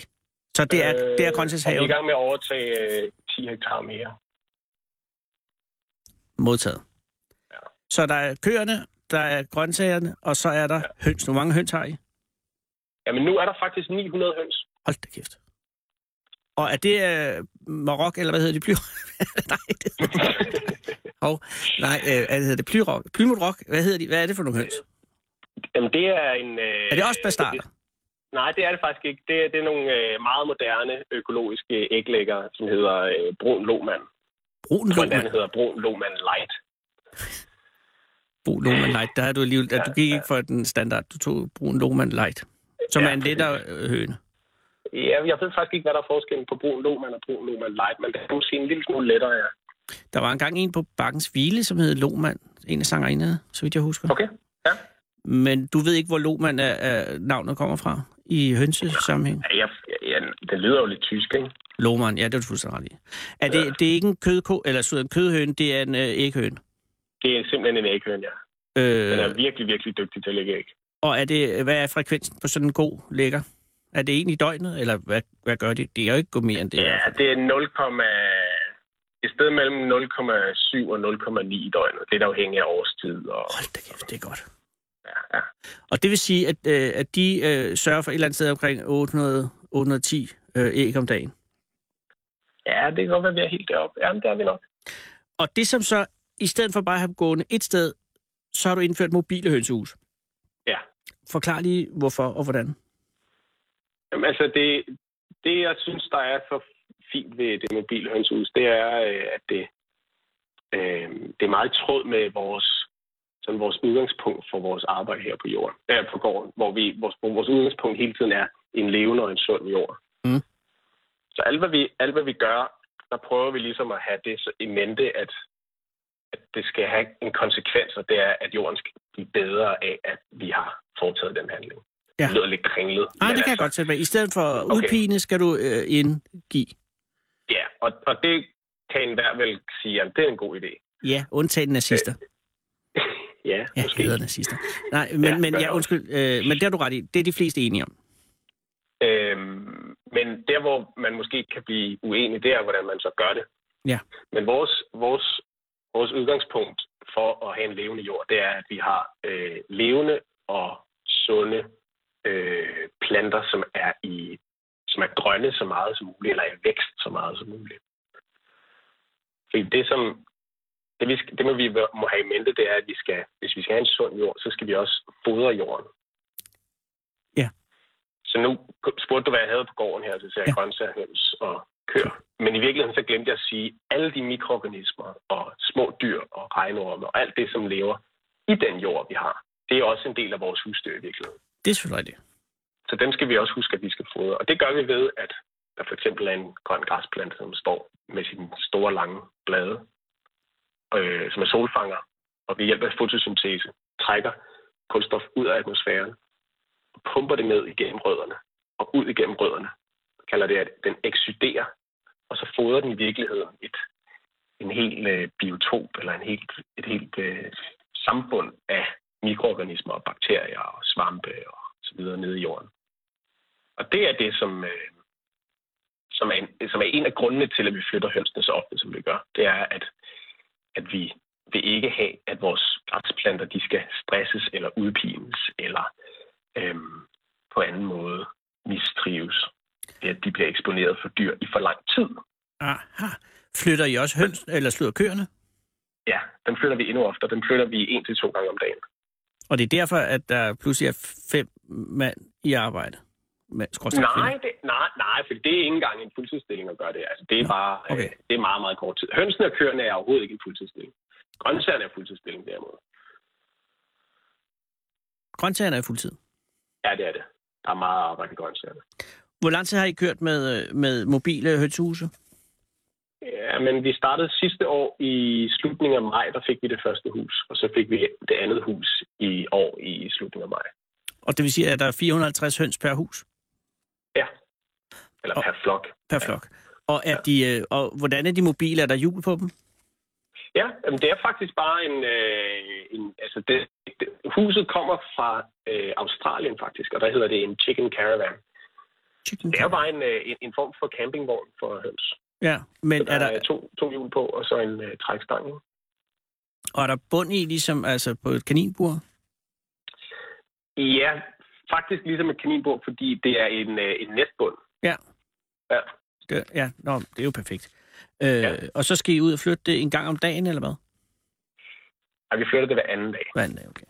E: Så det er, øh, det er
G: og Vi er
E: grøntsagshaven
G: i gang med at overtage øh, 10 hektar mere.
E: modtaget. Så der er køerne, der er grøntsagerne, og så er der høns. Hvor mange høns har I?
G: Jamen nu er der faktisk 900 høns.
E: Hold da kæft. Og er det øh, Marok, eller hvad hedder det? Ply... *laughs* nej, det Hov, nej, øh, hvad hedder det? Plyrok? Plymoutrok? Hvad hedder de? Hvad er det for nogle høns?
G: Jamen, det er en... Øh,
E: Er det også bastarder?
G: Nej, det er det faktisk ikke. Det er, det er nogle øh, meget moderne økologiske æglægger, som hedder øh, Brun Lohmann.
E: Brun
G: Som blandt
E: Lohmann.
G: andet hedder Brun Lohmann Light.
E: Brun Lohmann Light. Der har du alligevel... Ja, du gik ikke for den standard. Du tog Brun Lohmann Light. Som
G: Ja,
E: er en lettere øh, høne.
G: Ja, jeg ved faktisk ikke, hvad der er forskellen på Brun Lohmann og Brun Lohmann Light, men det er måske en lille smule lettere, ja.
E: Der var engang en på Bakkens Hvile, som hed Lohmann. En af sangerinderne, så vidt jeg husker.
G: Okay.
E: Men du ved ikke, hvor Lohmann er, er, navnet kommer fra i hønsesammenhæng?
G: Ja, jeg, ja, det lyder jo lidt tysk, ikke?
E: Lohmann, ja, det er du fuldstændig ret i. Er det, det er ikke en kødko, eller så en kødhøn, det er en øh, æghøn.
G: Det er simpelthen en æghøn, ja.
E: Øh,
G: Den er virkelig, virkelig dygtig til at lægge æg.
E: og er det, hvad er frekvensen på sådan en god lægger? Er det en i døgnet, eller hvad, hvad gør det? Det er altså- jo ikke gået mere end det. i
G: Ja,
E: hvert fald.
G: det er 0,... Et sted mellem 0,7 og 0,9 i døgnet. Det er afhængigt af årstid og...
E: Hold da kæft, det er godt.
G: Ja, ja.
E: Og det vil sige, at, øh, at de øh, sørger for et eller andet sted omkring 800, 810 øh, æg om dagen.
G: Ja, det kan godt være, vi er helt deroppe. Jamen, det er vi nok.
E: Og det som så, i stedet for bare at have dem gående et sted, så har du indført mobile hønsehus.
G: Ja.
E: Forklar lige, hvorfor og hvordan.
G: Jamen, altså, det, det, jeg synes, der er så fint ved det mobile hønsehus, det er, øh, at det, øh, det er meget i tråd med vores, sådan vores udgangspunkt for vores arbejde her på jorden, øh, på gården, hvor, vi, vores, hvor vores udgangspunkt hele tiden er en levende og en sund jord.
E: Mm.
G: Så alt hvad, vi, alt, hvad vi gør, der prøver vi ligesom at have det så i mente, at, at det skal have en konsekvens, og det er, at jorden skal blive bedre af, at vi har foretaget den handling.
E: Ja.
G: Det lyder lidt kringlet.
E: Nej,
G: men
E: det kan jeg
G: altså-
E: godt sætte mig. I stedet for at
G: Okay.
E: udpine, skal du øh, indgive.
G: Ja, og, og det kan enhver vel sige, at det er en god idé.
E: Ja, undtagen nazister.
G: Ja,
E: Ja,
G: måske.
E: hedder nazister. Nej, men,
G: Ja,
E: ja, men
G: gør
E: ja,
G: jeg også.
E: undskyld, øh, men det har du ret i. Det er de fleste enige om.
G: Øhm, men der, hvor man måske kan blive uenig, det er, hvordan man så gør det.
E: Ja.
G: Men vores, vores, vores udgangspunkt for at have en levende jord, det er, at vi har øh, levende og sunde øh, planter, som er i som er grønne så meget som muligt, eller i vækst så meget som muligt. Fordi det, som, det, vi, skal- det må vi må have i mente, det er, at vi skal, hvis vi skal have en sund jord, så skal vi også fodre jorden. Så nu spurgte du, hvad jeg havde på gården her, så sagde jeg
E: Ja.
G: ja. grøntsager, høns og køer. Men i virkeligheden så glemte jeg at sige, alle de mikroorganismer og små dyr og regnorme og alt det, som lever i den jord, vi har, det er også en del af vores husdyr i virkeligheden.
E: Det er selvfølgelig rigtigt.
G: Så dem skal vi også huske, at vi skal fodre. Og det gør vi ved, at der for eksempel er en grøn græsplante, som står med sine store, lange blade, øh, som er solfanger, og ved hjælp af fotosyntese trækker kulstof ud af atmosfæren og pumper det ned igennem rødderne og ud igennem rødderne. Man kalder det, at den exuderer, og så fodrer den i virkeligheden et, en hel øh, biotop eller en helt, et helt øh, samfund af mikroorganismer og bakterier og svampe og så osv. nede i jorden. Og det er det, som, øh, som, er en, som er en af grundene til, at vi flytter hønsene så ofte, som vi gør. Det er, at, at vi vil ikke have, at vores græsplanter de skal stresses eller udpines eller øhm, på anden måde mistrives. Det er, at de bliver eksponeret for dyr i for lang tid.
E: Aha. Flytter I også høns, eller slår køerne?
G: Ja, den flytter vi endnu oftere. Den flytter vi en til to gange om dagen.
E: Og det er derfor, at der pludselig er fem mand i arbejde? Med,
G: Nej, det, nej, nej, for det er ikke engang en fuldtidsstilling at gøre det. Altså, det er
E: Nå,
G: bare
E: okay.
G: okay. øh, det er meget, meget kort tid. Hønsene og køerne er overhovedet ikke en fuldtidsstilling. Grøntsagerne er fuldtidsstilling derimod.
E: Grøntsagerne er fuldtid.
G: Ja, det er det. Der er meget arbejde i grøntsagerne.
E: Hvor lang tid har I kørt med, øh, med mobile hønsehuse?
G: Ja, men vi startede sidste år i slutningen af maj, der fik vi det første hus, og så fik vi det andet hus i år i slutningen af maj.
E: Og det vil sige, at der er 450 høns per hus,
G: Ja. Eller per flok.
E: per flok. Og, er de, øh, og hvordan er de mobile? Er der hjul på dem?
G: Ja, jamen, det er faktisk bare en... Øh, en altså det, det, huset kommer fra øh, Australien faktisk, og der hedder det en chicken caravan.
E: Chicken
G: Det er jo bare en, øh, en, en form for campingvogn for høns.
E: Ja,
G: Så
E: men
G: der
E: er
G: er,
E: der,
G: er to, to hjul på, og så en øh, trækstang. ikke?
E: og er der bund i, ligesom altså på et kaninbur?
G: Ja, faktisk ligesom et kaninbord, fordi det er en, øh, en netbund.
E: Ja.
G: Ja.
E: Det, ja, nå, det er jo perfekt. Øh, ja. Og så skal I ud og flytte det en gang om dagen, eller hvad?
G: Og vi flytter det hver anden dag.
E: Hvad er okay.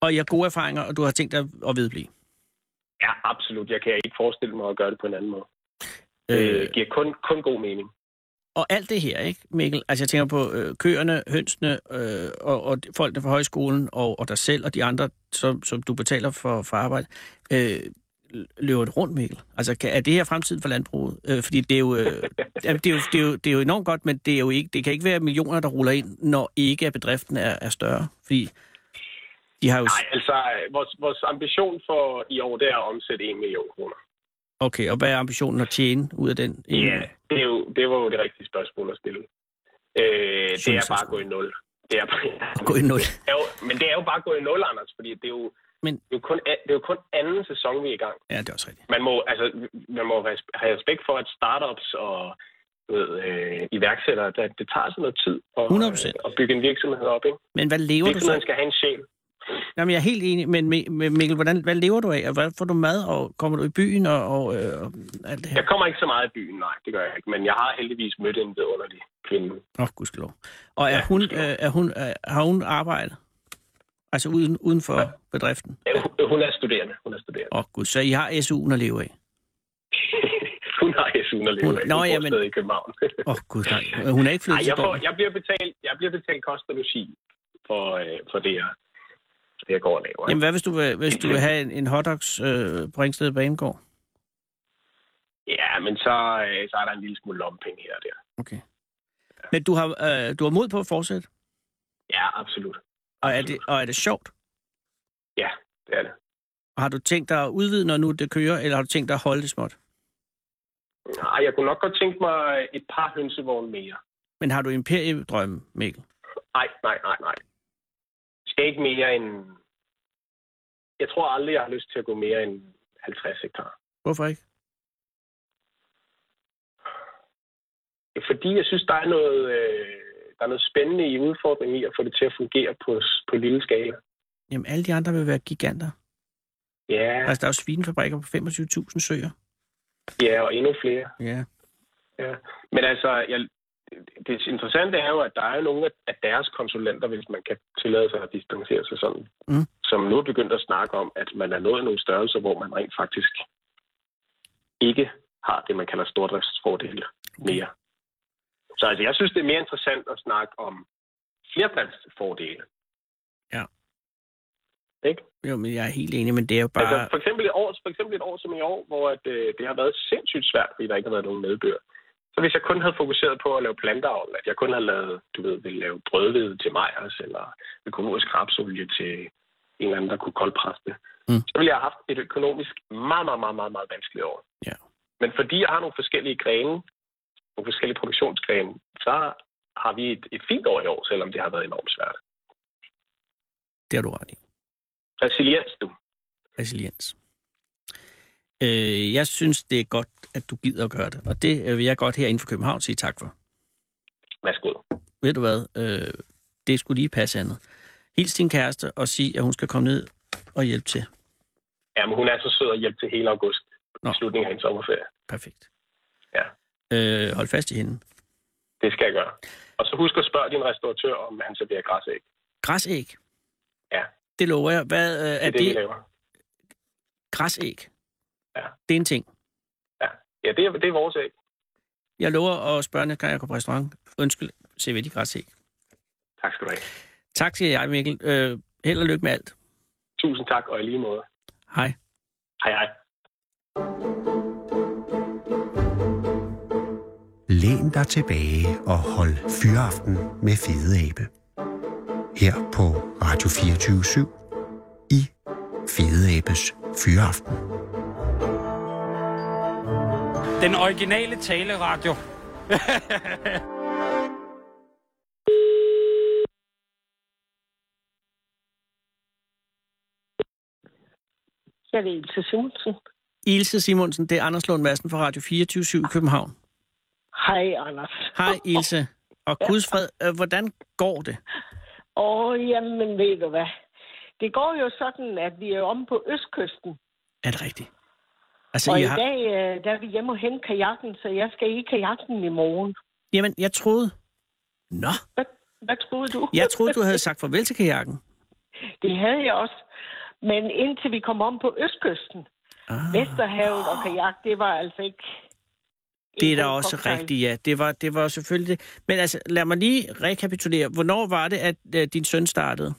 E: Og I har gode erfaringer, og du har tænkt dig at vedblive?
G: Ja, absolut. Jeg kan ikke forestille mig at gøre det på en anden måde.
E: Øh,
G: Det giver kun, kun god mening.
E: og alt det her, ikke, Mikkel? Altså, jeg tænker på øh, køerne, hønsene, øh, og, og folkene fra højskolen, og, og dig selv, og de andre, som, som du betaler for, for arbejde. Øh, løber det rundt, Mikkel? Altså, kan, er det her fremtiden for landbruget? Øh, fordi det er, jo, øh, jamen, det, er jo, det, er jo, det er jo enormt godt, men det, er jo ikke, det kan ikke være millioner, der ruller ind, når ikke at bedriften er, er større. Fordi de har jo...
G: Nej, altså, øh, vores, vores ambition for i år, det er at omsætte 1 million kroner.
E: Okay, og hvad er ambitionen at tjene ud af den?
G: Det, er jo, det var jo det rigtige spørgsmål at stille. Øh, det
E: Synes
G: er
E: jeg
G: bare
E: sgu.
G: at gå i nul. Det er,
E: At gå i nul.
G: *laughs* Det er jo, men det er jo bare at gå i nul, Anders, fordi det er jo,
E: Men-
G: men, det er jo, kun, a- det er jo kun anden sæson, vi er i gang.
E: Ja, det er også rigtigt.
G: Man må, altså, man må res- have respekt for, at startups og du ved, øh, iværksættere, det, det tager sådan noget tid at,
E: 100%.
G: at bygge en virksomhed op. Ikke?
E: Men hvad lever du så
G: Virksomheden skal have en sjæl.
E: Jamen, jeg er helt enig, men Mi- Mi- Mikkel, hvordan, hvad lever du af? Og Hvad får du mad, og kommer du i byen, og, og, øh, og alt det her?
G: Jeg kommer ikke så meget i byen, nej, det gør jeg ikke. Men jeg har heldigvis mødt en vidunderlig kvinde.
E: Nå, gudskelov. Og er
G: Ja,
E: hun, øh,
G: gudskelov.
E: er hun, øh, har hun arbejde? Altså uden, uden for bedriften?
G: Ja, Øh, hun- Hun er studerende, hun er studerende.
E: Åh, oh, gud, så I har SU'en at leve af?
G: *laughs* hun har SU'en at leve
E: Hun-
G: af.
E: Nå,
G: Hun bor
E: jamen.
G: stadig i
E: *laughs*
G: København.
E: Åh, oh, gud, nej. Hun er ikke
G: Nej,
E: flyttet
G: jeg,
E: til
G: får,
E: gården.
G: jeg, bliver betalt, jeg bliver betalt kost og logi for, øh, for det, jeg, for det, jeg går og laver.
E: Jamen, hvad hvis du vil, hvis du vil have en, en hotdogs øh, på Ringsted Banegård?
G: Ja, men så, øh, så er der en lille smule lompenge her og der.
E: Okay. Men du har, øh, du har mod på at fortsætte,
G: Ja, absolut.
E: og er det, og er det sjovt?
G: Ja, det er det.
E: Og har du tænkt dig at udvide, når nu det kører, eller har du tænkt dig at holde det småt?
G: Nej, jeg kunne nok godt tænke mig øh, et par hønsevogne mere.
E: Men har du imperiedrømme, Mikkel?
G: Nej, nej, nej, nej. Jeg skal ikke mere end... Jeg tror aldrig, jeg har lyst til at gå mere end 50 hektar.
E: Hvorfor ikke?
G: Fordi jeg synes, der er noget, øh, der er noget spændende i udfordringen i at få det til at fungere på, på lille skala.
E: Jamen, alle de andre vil være giganter.
G: Ja,
E: Altså, der er jo svinefabrikker på 25.000 søer.
G: ja og endnu flere.
E: Ja.
G: Ja. Men altså, jeg, det interessante er jo, at der er nogle af- af deres konsulenter, hvis man kan tillade sig at distancere sig sådan,
E: Mm.
G: som nu er begyndt at snakke om, at man er nået nogle størrelser, hvor man rent faktisk ikke har det, man kalder stordriftsfordele mere. Så altså, jeg synes, det er mere interessant at snakke om flerbrændsfordele.
E: Ja.
G: Ikke?
E: Jo, men jeg er helt enig, men det er jo
G: Bare...
E: bare...
G: Altså, for eksempel, et år, for eksempel et år som i år, hvor at, øh, det har været sindssygt svært, fordi der ikke har været nogen nedbør. Så hvis jeg kun havde fokuseret på at lave planteavl, at jeg kun havde lavet, du ved, ville lave brødvede til Majers, eller økologisk rapsolie til en eller anden, der kunne koldpresse det,
E: Mm.
G: mm. så ville jeg have haft et økonomisk meget, meget, meget, meget, meget vanskeligt år.
E: Ja.
G: Men fordi jeg har nogle forskellige grene, nogle forskellige produktionsgrene, så har vi et, et fint år i år, selvom det har været enormt svært.
E: Det har du ret i.
G: Resiliens, du.
E: resiliens. Øh, jeg synes, det er godt, at du gider at gøre det, og det øh, vil jeg godt herinde for København sige tak for.
G: Værsgo.
E: Ved du hvad, øh, det skulle lige passe andet. Hils din kæreste og sig, at hun skal komme ned og hjælpe til.
G: Jamen, hun er så sød og hjælpe til hele august.
E: Nå.
G: Nå. Slutningen af hendes sommerferie.
E: Perfekt.
G: Ja.
E: Øh, hold fast i hende.
G: Det skal jeg gøre. Og så husk at spørge din restauratør, om han serverer græsæg.
E: Græsæg?
G: Ja.
E: Det lover jeg. Hvad øh,
G: Det
E: er
G: er det, vi
E: det?
G: laver.
E: Græsæg?
G: Ja.
E: Det er en ting.
G: Ja, det er, det er vores æg.
E: Jeg lover at spørge, når jeg går på restaurant. Undskyld, serverer de græsæg?
G: Tak skal du have.
E: Tak, siger jeg, Mikkel. Øh, held og lykke med alt.
G: Tusind tak, og i lige måde.
E: Hej.
G: Hej hej.
C: Læn dig tilbage og hold fyraften med Fede Abe. Her på Radio 24 i Fede Abes Fyraften.
H: Den originale taleradio.
D: Jeg vil Ilse Simonsen.
E: Ilse Simonsen, det er Anders Lund Madsen fra Radio 24 i København.
I: Hej, Anders.
E: Hej, Ilse. Og gudsfred, øh, hvordan går det?
I: Åh, jamen ved du hvad. Det går jo sådan, at vi er om på Østkysten.
E: Er det rigtigt?
I: Så
E: Altså,
I: og
E: jeg
I: i
E: har...
I: dag, øh, der er vi hjemme og hente kajakken, så jeg skal i kajakken i morgen.
E: Jamen, jeg troede... Nå,
I: Hvad troede du?
E: jeg troede, du havde sagt farvel til
I: *laughs*
E: kajakken.
I: Det havde jeg også. Men indtil vi kom om på Østkysten,
E: Ah.
I: Vesterhavet og kajak, det var altså ikke...
E: Det er
I: ikke
E: da
I: en
E: også
I: cocktail.
E: rigtigt, ja. Det var, det var selvfølgelig det. Men altså, lad mig lige rekapitulere. Hvornår var det, at øh, din søn startede?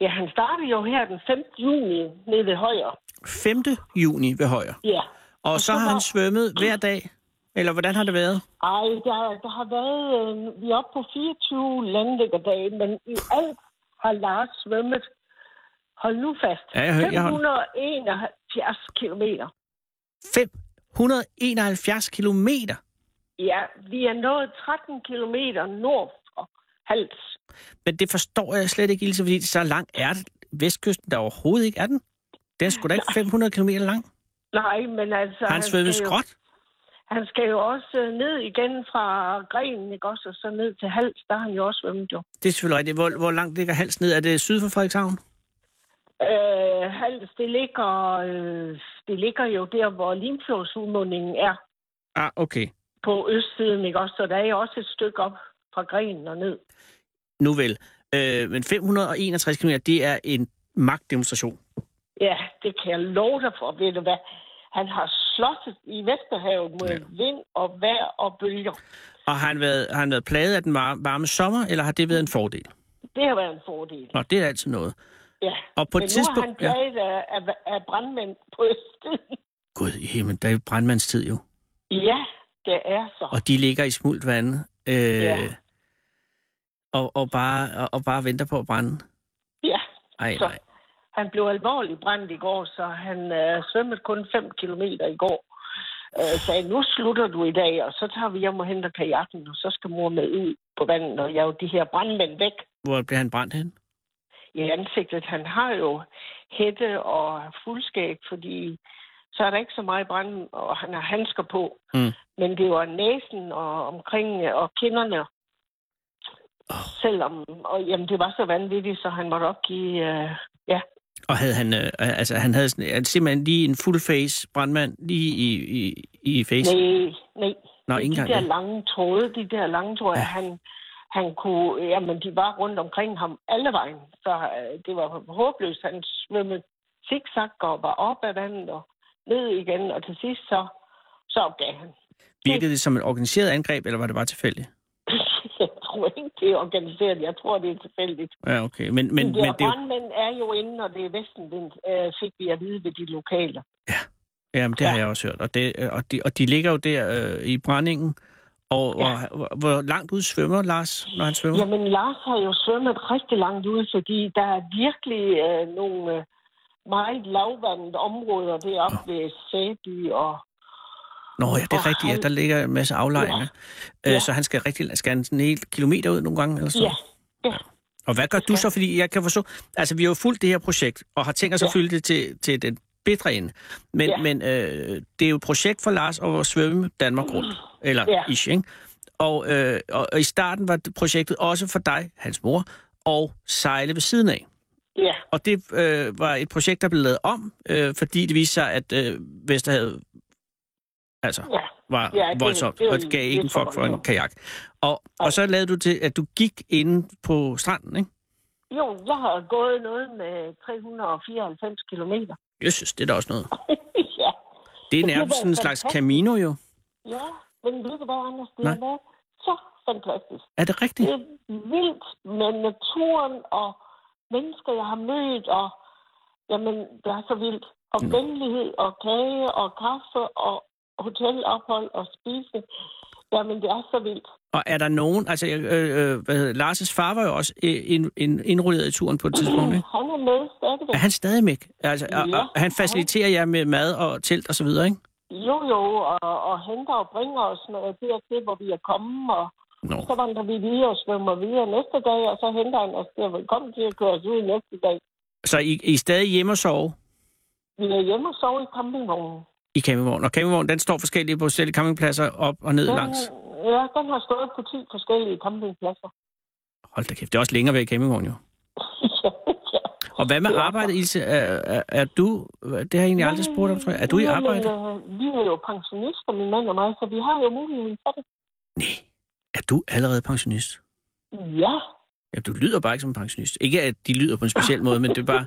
I: Ja, han startede jo her den 5. juni nede ved Højer.
E: 5. juni ved Højer.
I: Ja.
E: Og så
I: så
E: har han
I: var-
E: svømmet hver dag? Eller hvordan har det været?
I: Ej, der, der har været... Øh, vi er oppe på 24 landlæggerdage, men i alt har Lars svømmet... Hold nu fast.
E: Ja, jeg hører- jeg har-
I: 571 kilometer.
E: 571 kilometer?
I: Ja, vi er nået 13 kilometer nord for Hals.
E: Men det forstår jeg slet ikke, Ilse, fordi så lang er det. Vestkysten der overhovedet ikke er den. Den er sgu da
I: *laughs*
E: ikke 500 km lang.
I: Nej, men altså...
E: Har han svømmet
I: skal jo-
E: skråt?
I: Han skal jo også øh, ned igen fra grenen, ikke også? Og så ned til Hals, der har han jo også svømmet jo.
E: Det er selvfølgelig rigtigt. Hvor, hvor langt ligger hals ned? Er det syd for Frederikshavn?
I: Øh, Hals, det ligger, øh, det ligger jo der, hvor Limfjordsudmundingen er.
E: Ah, okay.
I: på østsiden, ikke også? Så der er jo også et stykke op fra grenen og ned.
E: Nu vel. Øh, men 561 km, det er en magtdemonstration.
I: Ja, det kan jeg love dig for, ved du hvad? Han har slottet i Vesterhavet mod
E: Ja.
I: ja. vind og vejr og bølger.
E: Og har han været, har han været plaget af den var- varme sommer, eller har det været en fordel?
I: Det har været en fordel.
E: Nå, det er altid noget.
I: Ja.
E: Og på et
I: Men nu er han
E: tidspunkt... Ja.
I: plaget af, af, af brandmænd på østsiden.
E: Gud i himlen, der er jo brandmandstid jo.
I: Ja, det er så.
E: Og de ligger i smult vand. Øh,
I: Ja.
E: og, og, bare, og, og bare venter på at brænde.
I: Ja,
E: Ej,
I: så
E: nej.
I: han blev alvorligt brændt i går, så han øh, svømmede kun 5 kilometer i går. Øh, sagde, nu slutter du i dag, og så tager vi hjem og henter kajakken, og så skal mor med ud på vandet, og jeg er jo de her brandmænd væk.
E: Hvor bliver han brændt hen?
I: i ansigtet. Han har jo hætte og fuldskæg, fordi så er der ikke så meget brand, og han har handsker på.
E: Mm.
I: Men det var næsen og omkring øh, og kinderne. Oh. Selvom, og jamen, det var så vanvittigt, så han måtte opgive... Øh,
E: Og havde han, øh, altså, han havde sådan, altså, simpelthen lige en full face brandmand lige i, i, i face.
I: nej, nej.
E: Nå,
I: de
E: ikke engang
I: der
E: det.
I: lange tråde, de der lange tråde, ja. han, han kunne... Jamen, de var rundt omkring ham alle vejen. Så øh, det var håbløst. Han svømmede zigzag og var op af vandet og ned igen. Og til sidst, så, så opgav han. *laughs*
E: Virkede det som et organiseret angreb, eller var det bare tilfældigt?
I: jeg tror ikke, det er organiseret. Jeg tror, det er tilfældigt.
E: Ja, okay. Men, men,
I: Men,
E: men
I: de
E: det
I: men
E: er jo,
I: brandmænd er jo inde, og det er Vestenvind, øh, fik vi at vide ved de lokale.
E: jamen, det har jeg også hørt. Og, det, øh, og, de, og de ligger jo der øh, i brændingen. Og,
I: Ja.
E: ja. og, hvor, hvor langt ud svømmer Lars, når han svømmer?
I: Jamen, Lars har jo svømmet rigtig langt ud, fordi der er virkelig øh, nogle øh, meget lavvandede områder deroppe oh. ved Sæby og...
E: Nå ja, det er
I: Og
E: rigtigt, ja.
I: han-
E: Der ligger en masse aflejringer. Ja.
I: Ja.
E: Øh, så han skal rigtig skal han sådan en hel kilometer ud nogle gange? Eller sådan?
I: Ja, ja.
E: Og hvad gør du så? Fordi jeg kan forstå, altså vi har jo fulgt det her projekt, og har tænkt os at
I: Ja.
E: følge det til, til den bedre ende. Men,
I: Ja.
E: men øh, det er jo et projekt for Lars at svømme Danmark rundt, eller ja.
I: Ja.
E: ish, ikke? Og, øh, og, og i starten var det- projektet også for dig, hans mor, og sejle ved siden af.
I: Ja,
E: Og det øh, var et projekt, der blev lavet om, øh, fordi det viste sig, at øh, Vesterhavet altså,
I: ja.
E: var
I: Ja,
E: ja,
I: det-
E: voldsomt,
I: det var
E: og det gav
I: lidt
E: ikke en
I: for
E: fuck for en
I: voldsomt.
E: kajak. Og,
I: Nej.
E: og så lavede du til, at du gik inde på stranden, ikke?
I: Jo, jeg har gået noget med 394 kilometer. *laughs*
E: Jeg synes, det er da også noget.
I: ja.
E: Det er
I: Det
E: nærmest
I: var
E: sådan en slags
I: fantastisk.
E: Camino, jo.
I: ja, men ved du hvad, Anders, det
E: Nej.
I: har været så fantastisk.
E: Er det rigtigt?
I: Det er vildt med naturen og mennesker, jeg har mødt, og jamen, det er så vildt. Og
E: Nå.
I: venlighed og kage og kaffe og hotelophold og spise. Jamen, det er så vildt.
E: Og er der nogen... Altså, jeg- øh, øh, hvad hedder, Lars' far var jo også øh, ind, ind, indrulleret i turen på et tidspunkt, ikke?
I: Han er med stadigvæk.
E: Er han stadig med? Altså, og,
I: Ja.
E: og, han faciliterer jer med mad og telt og så videre, ikke?
I: Jo, jo, og, og henter og bringer os noget dertil, hvor vi er kommet, og
E: Nå.
I: så vandrer vi videre og svømmer videre næste dag, og så henter han os der, velkommen til at køre os ud næste dag.
E: Så I, I er stadig hjemme og sove
I: Vi er hjemme og sover i campingvognen.
E: i campingvognen. Og campingvognen, den står forskelligt på forskellige campingpladser op og ned
I: Den,
E: langs.
I: ja, den har stået på 10 forskellige
E: *laughs*
I: campingpladser.
E: Hold da kæft, det er også længere væk i campingvognen, jo.
I: ja.
E: Og hvad med
I: Det er
E: arbejdet, Ilse? Er, er, er du... Det har jeg egentlig aldrig spurgt om, tror jeg. Er du i
I: Jamen,
E: arbejde?
I: øh, vi er jo pensionister, min mand og mig, så vi har jo muligheden for det.
E: Nej. Er du allerede pensionist?
I: Ja,
E: Ja, du lyder bare ikke som en pensionist. Ikke, at de lyder på en speciel måde, men det er
I: *laughs*
E: bare...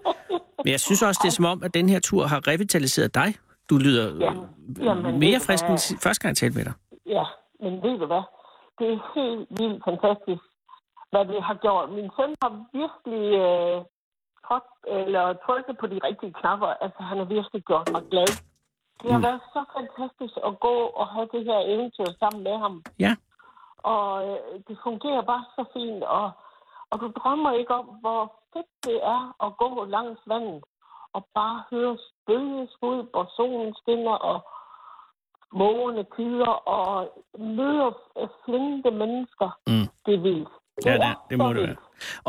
E: Men jeg synes også, det er som om, at den her tur har revitaliseret dig. Du lyder øh,
I: Jamen, jamen,
E: mere
I: det
E: frisk
I: er-
E: end si- første gang, jeg talte med dig.
I: ja, men ved du hvad? Det er helt vildt fantastisk, hvad vi har gjort. Min søn har virkelig øh, trådt, eller trykket på de rigtige knapper. Altså, han har virkelig gjort mig glad. Det
E: Mm.
I: har været så fantastisk at gå og have det her eventyr sammen med ham.
E: Ja.
I: Og øh, det fungerer bare så fint, og, og du drømmer ikke om, hvor fedt det er at gå langs vandet og bare høre bølgeskud, hvor solen skinner, og mågerne kider, og møder øh, flinte mennesker.
E: Mm.
I: Det er vildt.
E: Ja, det, det må
I: så
E: det være.
I: vildt.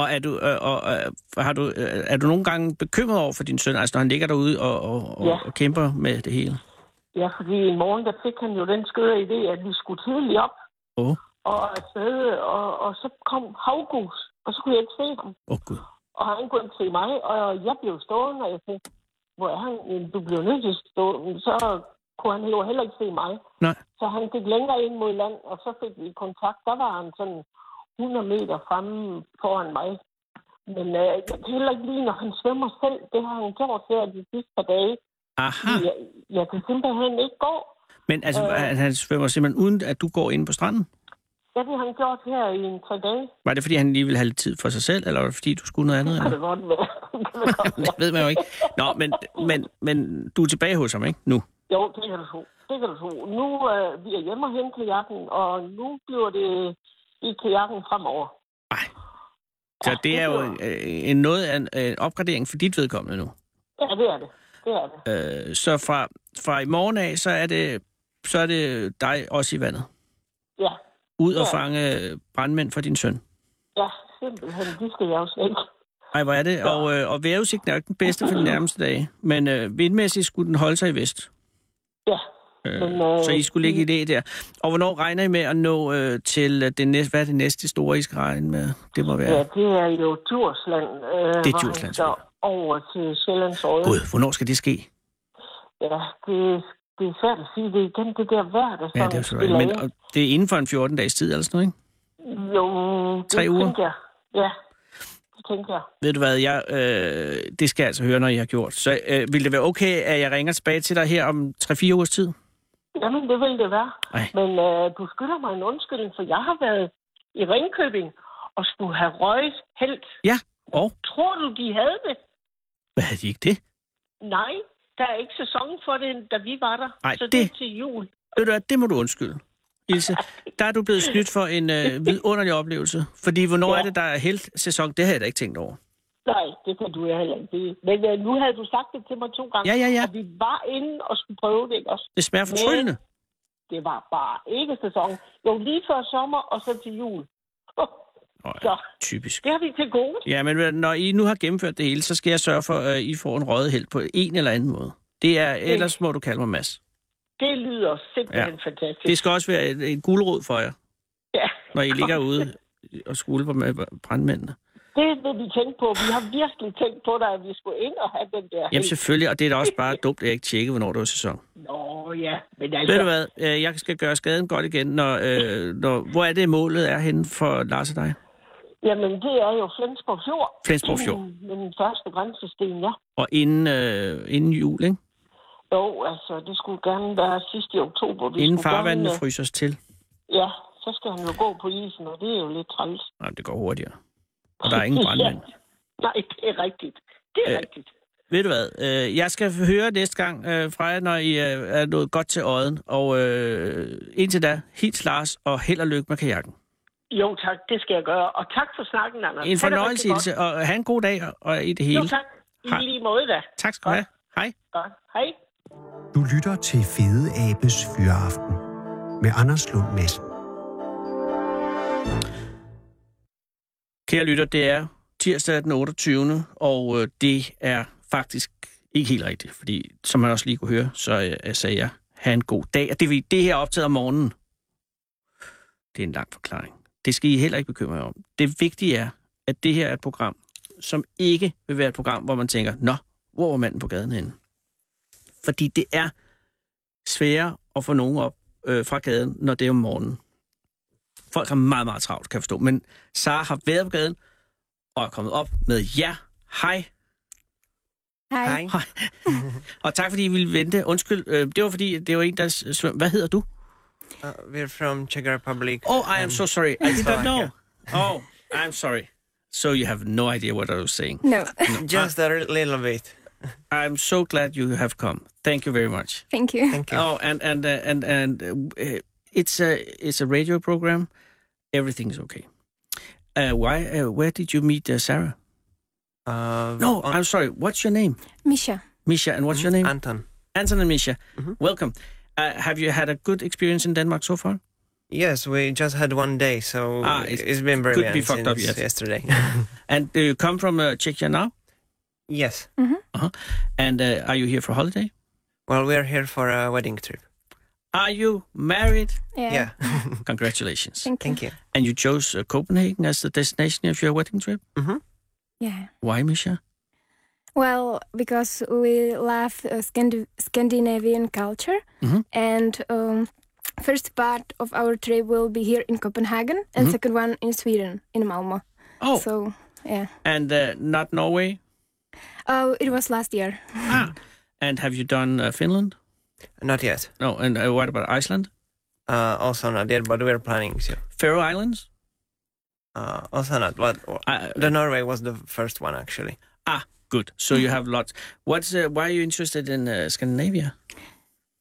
E: Og er du, øh, og, øh, har du, øh, er du nogle gange bekymret over for din søn, altså når han ligger derude og, og, og,
I: Ja.
E: og kæmper med det hele?
I: Ja, fordi i morgen, der fik han jo den skøre idé, at vi skulle tidligt op
E: Åh, oh,
I: og afsted, og, og så kom havgus, og så kunne jeg ikke se ham.
E: oh, gud.
I: Og han kunne ikke se mig, og jeg blev stående, og jeg tænkte, hvor er han? Jamen, Du blev nødt til at stå. Men Så kunne han jo heller ikke se mig.
E: Nej.
I: Så han gik længere ind mod land, og så fik vi kontakt. Der var han sådan 100 meter fremme foran mig. Men øh, jeg kan heller ikke lide, når han svømmer selv. Det har han gjort her de sidste par dage.
E: Aha.
I: Jeg, jeg kan simpelthen ikke gå.
E: Men altså,
I: Øh.
E: øh. han svømmer simpelthen uden, at du går ind på stranden?
I: Ja, det har han gjort her i en tre dage.
E: Var det, fordi han lige ville have lidt tid for sig selv, eller var det, fordi du skulle noget andet?
I: Det kan
E: Eller?
I: det godt være. *laughs* Det kan det godt
E: Det
I: være.
E: ved man jo ikke. Nå, men, men, men du er tilbage hos ham, ikke? Nu.
I: Jo, det kan du tro. Det kan du tro. Nu øh, vi er hjemme og hente kajakken, og nu bliver det i kajakken fremover.
E: Ej. Så det er jo øh, en noget af en, en opgradering for dit vedkommende nu.
I: Ja, det er det. Det er det.
E: Øh, så fra, fra i morgen af, så er, det, så er det dig også i vandet.
I: Ja,
E: Ud og
I: Ja.
E: fange øh, brandmænd for din søn.
I: ja, simpelthen. De skal jeg jo slet ikke.
E: Ej, hvor er det? Og, øh, og vejrudsigten er jo ikke den bedste for de nærmeste dage. Men øh, vindmæssigt skulle den holde sig i vest.
I: Ja.
E: Øh,
I: Men, øh,
E: så I skulle ligge i det der. Og hvornår regner I med at nå øh, til øh, det næste, hvad er det næste store, I skal regne med? Det må
I: Ja,
E: være...
I: det er jo Djursland. Øh, det
E: Djursland, selvfølgelig.
I: over til Sjællands Øje.
E: Gud, hvornår skal det ske?
I: Ja, det, det er svært at sige. Det er igen det der vejr, der
E: Ja,
I: sådan
E: det er så
I: spiller
E: rigtigt. Men
I: ind.
E: og det er inden for en 14-dages tid eller sådan noget, ikke?
I: Jo,
E: Tre
I: det
E: uger?
I: tænker jeg. Ja, det tænker jeg.
E: Ved du hvad, jeg, øh, det skal jeg altså høre, når I har gjort. Så øh, vil det være okay, at jeg ringer tilbage til dig her om 3-4 ugers tid?
I: Jamen, det vil det være.
E: Ej.
I: Men øh, du skylder mig en undskyldning, for jeg har været i Ringkøbing og skulle have røget helt.
E: Ja, og?
I: Tror du, de havde det?
E: Hvad havde de ikke det?
I: Nej, der er ikke sæson for det, da vi var der.
E: Ej,
I: så det,
E: det-
I: er til jul.
E: Ved du hvad, det må du undskylde. Ilse, der er du blevet snydt for en øh, vidunderlig oplevelse. Fordi hvornår ja.
I: Ja.
E: er det, der er helt-sæson? Det havde jeg da ikke tænkt over.
I: Nej, det kan du jo heller ikke vide. Men øh, nu havde du sagt det til mig to gange,
E: Ja, ja, ja.
I: og vi var inde og skulle prøve det, ikke også?
E: Det smager fortryllende.
I: Det var bare ikke sæson. Jo, lige før sommer og så til jul.
E: Nå, ja,
I: *laughs* Så
E: typisk.
I: det har vi til gode.
E: Ja, men ved du, når I nu har gennemført det hele, så skal jeg sørge for, at I får en røget held på en eller anden måde. Det er, ellers må du kalde mig Mads.
I: Det lyder simpelthen
E: Ja.
I: ja. fantastisk.
E: Det skal også være en, en guldråd for jer,
I: Ja.
E: når I ligger ude og skulper med brandmændene.
I: Det vil vi tænke på. Vi har virkelig tænkt på dig, at vi skulle ind og have den der...
E: Jamen selvfølgelig, og det er da også bare dumt, at jeg ikke tjekke, hvornår det er sæson.
I: Nå ja, men altså...
E: Ved du hvad, øh, jeg skal gøre skaden godt igen, når, øh, når, hvor er det målet er henne for Lars og dig?
I: Jamen, det er jo Flensborg Fjord.
E: Flensborg Fjord.
I: Med den første grænsesten, ja.
E: Og inden, øh, inden jul, ikke?
I: Jo, altså, det skulle gerne være sidst i oktober. Vi
E: Inden
I: skulle
E: farvandene
I: gerne, øh,
E: fryser os til.
I: Ja, så skal han jo gå på isen, og det er jo lidt træls.
E: Nej, det går hurtigere. Og der er
I: *laughs*
E: ingen brandmænd.
I: Nej, det er rigtigt. Det er
E: Øh,
I: øh, rigtigt.
E: Ved du hvad, øh, jeg skal høre næste gang øh, fra jer, når I øh, er nået godt til øjen. Og øh, indtil da, hils Lars, og held og lykke med kajakken.
I: Jo, tak. Det skal jeg gøre. Og tak for snakken, Anders.
E: En
I: Ha' det
E: fornøjelse,
I: rigtig godt.
E: Ilse, og have en god dag og- og i det hele.
I: Jo, tak.
E: Hej.
I: I lige måde da.
E: Tak skal du have. Hej.
I: Godt. Hej.
C: Du lytter til Fede Abes Fyraften med Anders Lund Madsen.
E: Kære lytter, det er tirsdag den 28. Og øh, det er faktisk ikke helt rigtigt, fordi som man også lige kunne høre, så øh, jeg sagde jeg, have en god dag. Og det, vi- det her er optaget om morgenen. Det er en lang forklaring. Det skal I heller ikke bekymre jer om. Det vigtige er, at det her er et program, som ikke vil være et program, hvor man tænker, nå, hvor var manden på gaden henne? Fordi det er sværere at få nogen op øh, fra gaden, når det er om morgenen. Folk har meget, meget travlt, kan jeg forstå. Men Sara har været på gaden og er kommet op med jer. Hej.
J: Hej.
E: Hej. og tak, fordi I ville vente. Undskyld, øh, det var fordi, det var en, der s- svøm. Hvad hedder du?
K: Uh, we're from Czech Republic. Um,
E: Oh, I am so sorry. I did not know.
K: Slovakia.
E: Oh, I'm sorry. So you have no idea what I was saying.
J: No,
K: *laughs* Just a little bit.
E: I'm so glad you have come. Thank you very much.
J: thank you.
K: Thank you.
E: Oh, and and uh, and and uh, it's a it's a radio program. Everything's okay. Uh, why? Uh, where did you meet uh, Sarah?
K: Uh,
E: No,
K: on-
E: I'm sorry. What's your name?
J: *laughs* Misha.
E: Misha, Mm-hmm. and Mm-hmm. what's your name?
K: Anton.
E: Anton and Misha, welcome. Uh, have you had a good experience in Denmark so far?
K: Yes, we just had one day, so
E: Ah, it's-
K: it's, it's been
E: could be
K: brilliant
E: fucked up,
K: since
E: yes. *laughs*
K: yesterday.
E: And do you come from uh, Czechia now?
K: yes.
E: And uh, are you here for holiday?
K: Well, we're here for a wedding trip.
E: Are you married?
J: Yeah.
K: Yeah.
E: Congratulations.
J: *laughs* Thank you.
K: Thank you.
E: And you chose uh, Copenhagen as the destination of your wedding trip?
K: Mm-hmm.
J: Yeah.
E: Why, Misha?
J: Well, because we love uh, Scandi- Scandinavian culture,
E: Mhm.
J: and um, first part of our trip will be here in Copenhagen, and second one in Sweden, in Malmo.
E: Oh,
J: So, yeah.
E: and uh, not Norway?
J: Oh, it was last year.
E: ah. And have you done uh, Finland?
K: Not yet.
E: No, and uh, what about Iceland?
K: Uh, also not yet, but we're planning to.
E: Faroe Islands?
K: Uh, also not. But
E: Uh,
K: the Norway was the first one actually.
E: ah, good. So
J: Mm-hmm.
E: you have lots. What's uh, Why are you interested in uh, Scandinavia?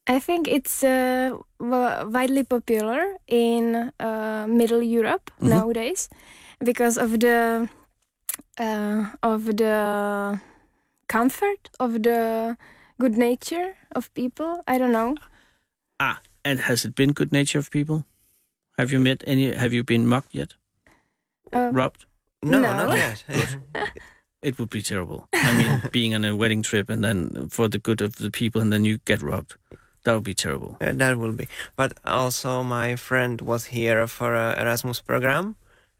J: I think it's uh, wi- widely popular in uh, Middle Europe
K: Mm-hmm.
J: nowadays because of the uh, of the comfort of the good nature of people. I don't know.
E: Ah, and has it been good nature of people? Have you met any? Have you been mocked yet?
J: Uh,
E: Robbed?
K: No,
J: No.
K: not yet.
E: It would be terrible. I mean, being on a wedding trip and then for the good of the people, and then you get robbed. That would be terrible.
K: Uh, that will be. But also, my friend was here for a Erasmus program,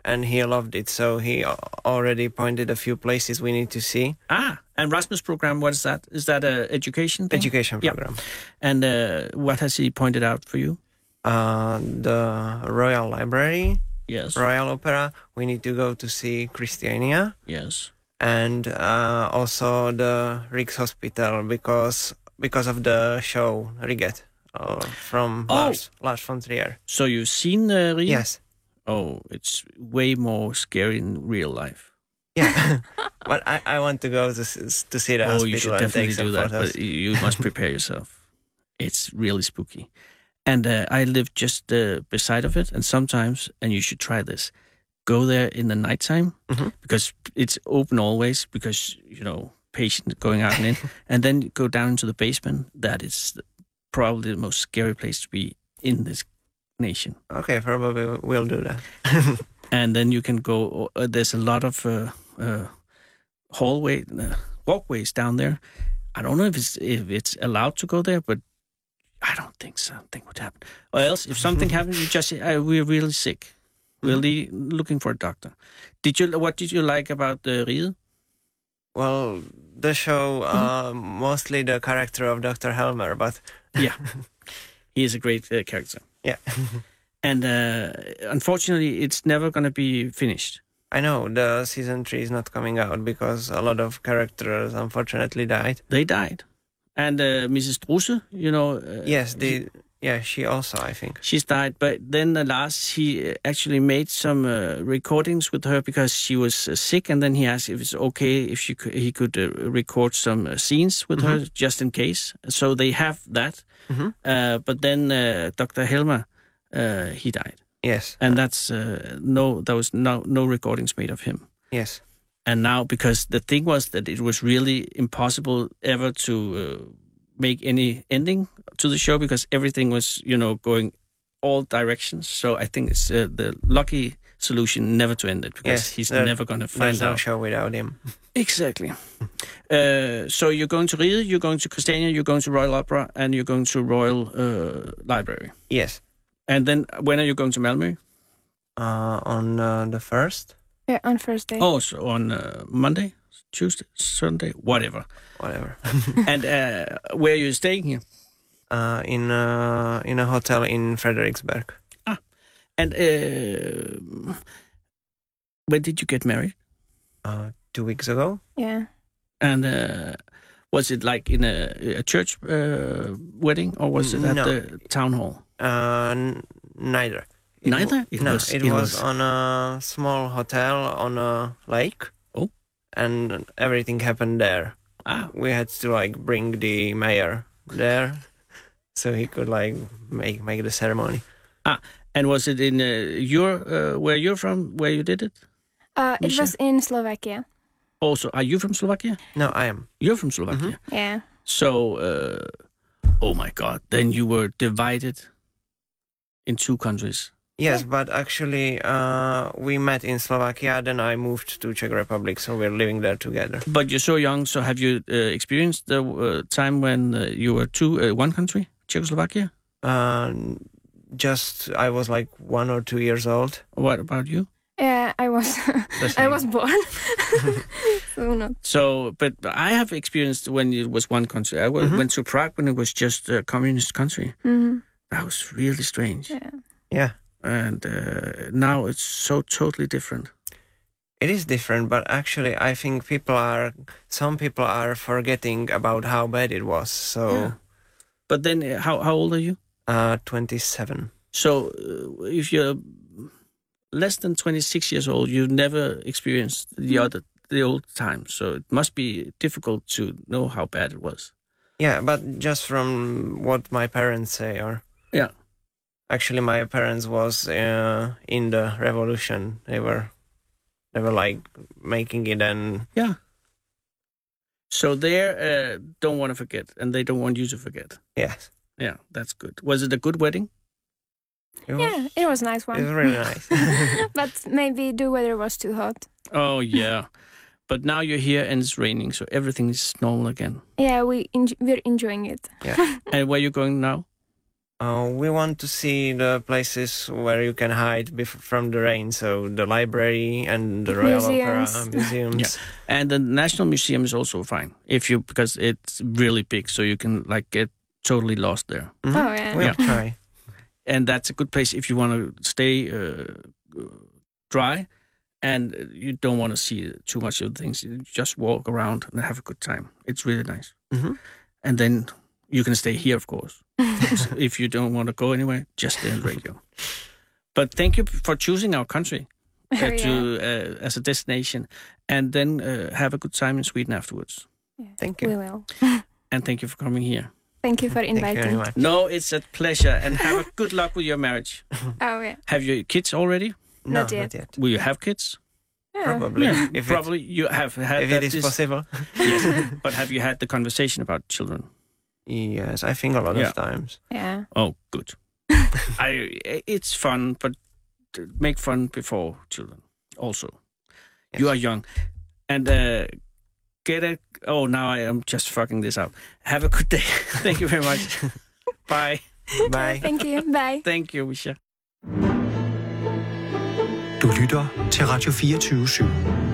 K: and he loved it. So he al- already pointed a few places we need to see.
E: Ah, and Rasmus program. What is that? Is that a education? Thing?
K: Education
E: Yeah.
K: program.
E: And uh, what has he pointed out for you?
K: Uh, the Royal Library,
E: Yes.
K: Royal Opera. We need to go to see Christiania,
E: Yes.
K: and uh, also the Riggs Hospital because because of the show Riget uh, from
E: Oh.
K: Lars Lars von Trier.
E: So you've seen uh, Rio?
K: Yes.
E: Oh, it's way more scary in real life. *laughs*
K: Yeah, *laughs* but I, I want to go to, s- to see the
E: oh,
K: hospital
E: you should
K: and take
E: definitely
K: some
E: do that,
K: photos.
E: but you must prepare yourself. It's really spooky. And uh, I live just uh, beside of it, and sometimes, and you should try this, go there in the nighttime
K: Mhm.
E: because it's open always because, you know, patients going out and in, and then go down into the basement. That is the- probably the most scary place to be in this nation. *laughs*
K: Okay, probably we'll do that.
E: and then you can go. Uh, there's a lot of uh, uh, hallway uh, walkways down there. I don't know if it's if it's allowed to go there, but I don't think something would happen. Or else, if
K: Mm-hmm.
E: something happens, you just say, "Uh, "We're really sick. We're le- looking for a doctor." Did you? What did you like about uh, the Riet?
K: Well, the show,
E: Mm-hmm.
K: uh, mostly the character of Dr. Helmer, but
E: yeah, he is a great uh, character.
K: Yeah, *laughs*
E: and uh, unfortunately, it's never going to be finished.
K: I know the season three is not coming out because a lot of characters unfortunately died.
E: They died, and uh, Mrs. Druse, you know. Uh,
K: yes, they. yeah, she also, I think.
E: She's died, but then alas, he uh, actually made some uh, recordings with her because she was uh, sick, and then he asked if it's okay if she could, he could uh, record some uh, scenes with her just in case. So they have that,
K: Mhm.
E: uh, but then uh, Dr. Helmer, uh, he died,
K: Yes,
E: and that's uh, no, there was no no recordings made of him.
K: yes,
E: and now because the thing was that it was really impossible ever to uh, make any ending to the show because everything was you know going all directions so i think it's uh, the lucky solution never to end it because
K: yes.
E: he's
K: There-
E: never going to find
K: There's no
E: out
K: show without
E: *laughs*
K: him.
E: exactly uh, so you're going to Ried, you're going to Christiania, you're going to Royal Opera, and you're going to Royal uh, Library.
K: Yes,
E: And then when are you going to Malmö?
K: uh, on uh, the first,
J: Yeah, on first day.
E: Oh, so on uh, Monday, Tuesday, Sunday, whatever.
K: whatever,
E: and uh, where are you staying here?
K: uh, in uh, in a hotel in Frederiksberg.
E: And uh, when did you get married?
K: Uh, two weeks ago,
J: Yeah.
E: And uh, was it like in a, a church uh, wedding or was it at
K: No.
E: the town hall?
K: uh, n- neither. It w-
E: Neither. It
K: no,
E: was-
K: it,
E: it
K: was,
E: was-
K: on a small hotel on a lake.
E: Oh.
K: and everything happened there.
E: Ah,
K: we had to like bring the mayor there so he could like make make the ceremony
E: ah. And was it in uh, your uh, where you're from? Where you did it?
J: Uh, it
E: Misha?
J: was in Slovakia.
E: Also, are you from Slovakia?
K: no i am
E: You're from Slovakia.
K: Mm-hmm.
J: Yeah.
E: So, uh, oh my God! Then you were divided in two countries.
K: yes but actually uh we met in slovakia then i moved to czech republic so we're living there together
E: But you're so young. So, have you uh, experienced the uh, time when uh, you were two, uh, one country, Czechoslovakia?
K: um just i was like one or two years old
E: What about you?
J: Yeah, I was *laughs*
K: same.
J: I was born. so not.
E: So, but I have experienced when it was one country. I wa- went to Prague when it was just a communist country.
J: Mhm.
E: That was really strange.
J: Yeah.
K: yeah
E: And uh, now it's so totally different.
K: it is different but actually i think people are some people are forgetting about how bad it was so
E: But then, uh, how how old are you?
K: uh 27
E: So, uh, if you're less than twenty six years old, you've never experienced the other the old times. So it must be difficult to know how bad it was.
K: Yeah, but just from what my parents say, or
E: Yeah.
K: actually, my parents was uh, in the revolution. They were, they were like making it, and
E: Yeah. So they uh, don't want to forget, and they don't want you to forget.
K: yes,
E: Yeah, that's good. Was it a good wedding?
K: it was,
J: Yeah, it was nice
K: it was
J: one.
K: really nice.
J: *laughs* but maybe the weather was too hot.
E: Oh yeah, *laughs* but now you're here and it's raining, so everything is normal again.
J: Yeah, we enj- we're enjoying it.
K: yeah,
E: And where you going now?
K: uh, we want to see the places where you can hide bef- from the rain, so the library and the Royal
J: Museums.
K: Opera
J: *laughs*
K: museums.
E: And the National Museum is also fine if you because it's really big, so you can like get totally lost there.
K: Mhm.
J: Oh, yeah.
K: We'll
J: *laughs*
E: Yeah.
K: try.
E: And that's a good place if you want to stay uh, dry, and you don't want to see too much of things. You just walk around and have a good time. It's really nice.
K: Mhm.
E: And then you can stay here, of course. So if you don't want to go anywhere, just stay in
K: *laughs*
E: Reggio. But thank you for choosing our country. uh,
J: Yeah.
E: to uh, as a destination, and then uh, have a good time in Sweden afterwards.
K: Thank
J: We
K: you.
J: will.
E: And thank you for coming here.
J: Thank you for
K: Thank you very
J: inviting.
K: much.
E: No, it's a pleasure, and have a good luck with your marriage.
J: Oh yeah.
E: Have you kids already?
K: No,
J: Not yet.
K: not yet.
E: Will you have kids?
J: yeah.
K: Probably, if it-
E: Probably you have had
K: if
E: that
K: it is
E: dis-
K: possible.
E: Yes. but have you had the conversation about children?
K: Yes, I think a lot
E: Yeah.
K: of times.
J: Yeah.
E: Oh, good. I it's fun, but make fun before children. Also, you are young, and uh, get a. Oh, now I am just fucking this up. Have a good day. *laughs* Thank you very much. Bye.
K: Bye.
J: *laughs* Thank you. Bye.
E: Thank you, Misha.
C: Du lytter til Radio 24 /7.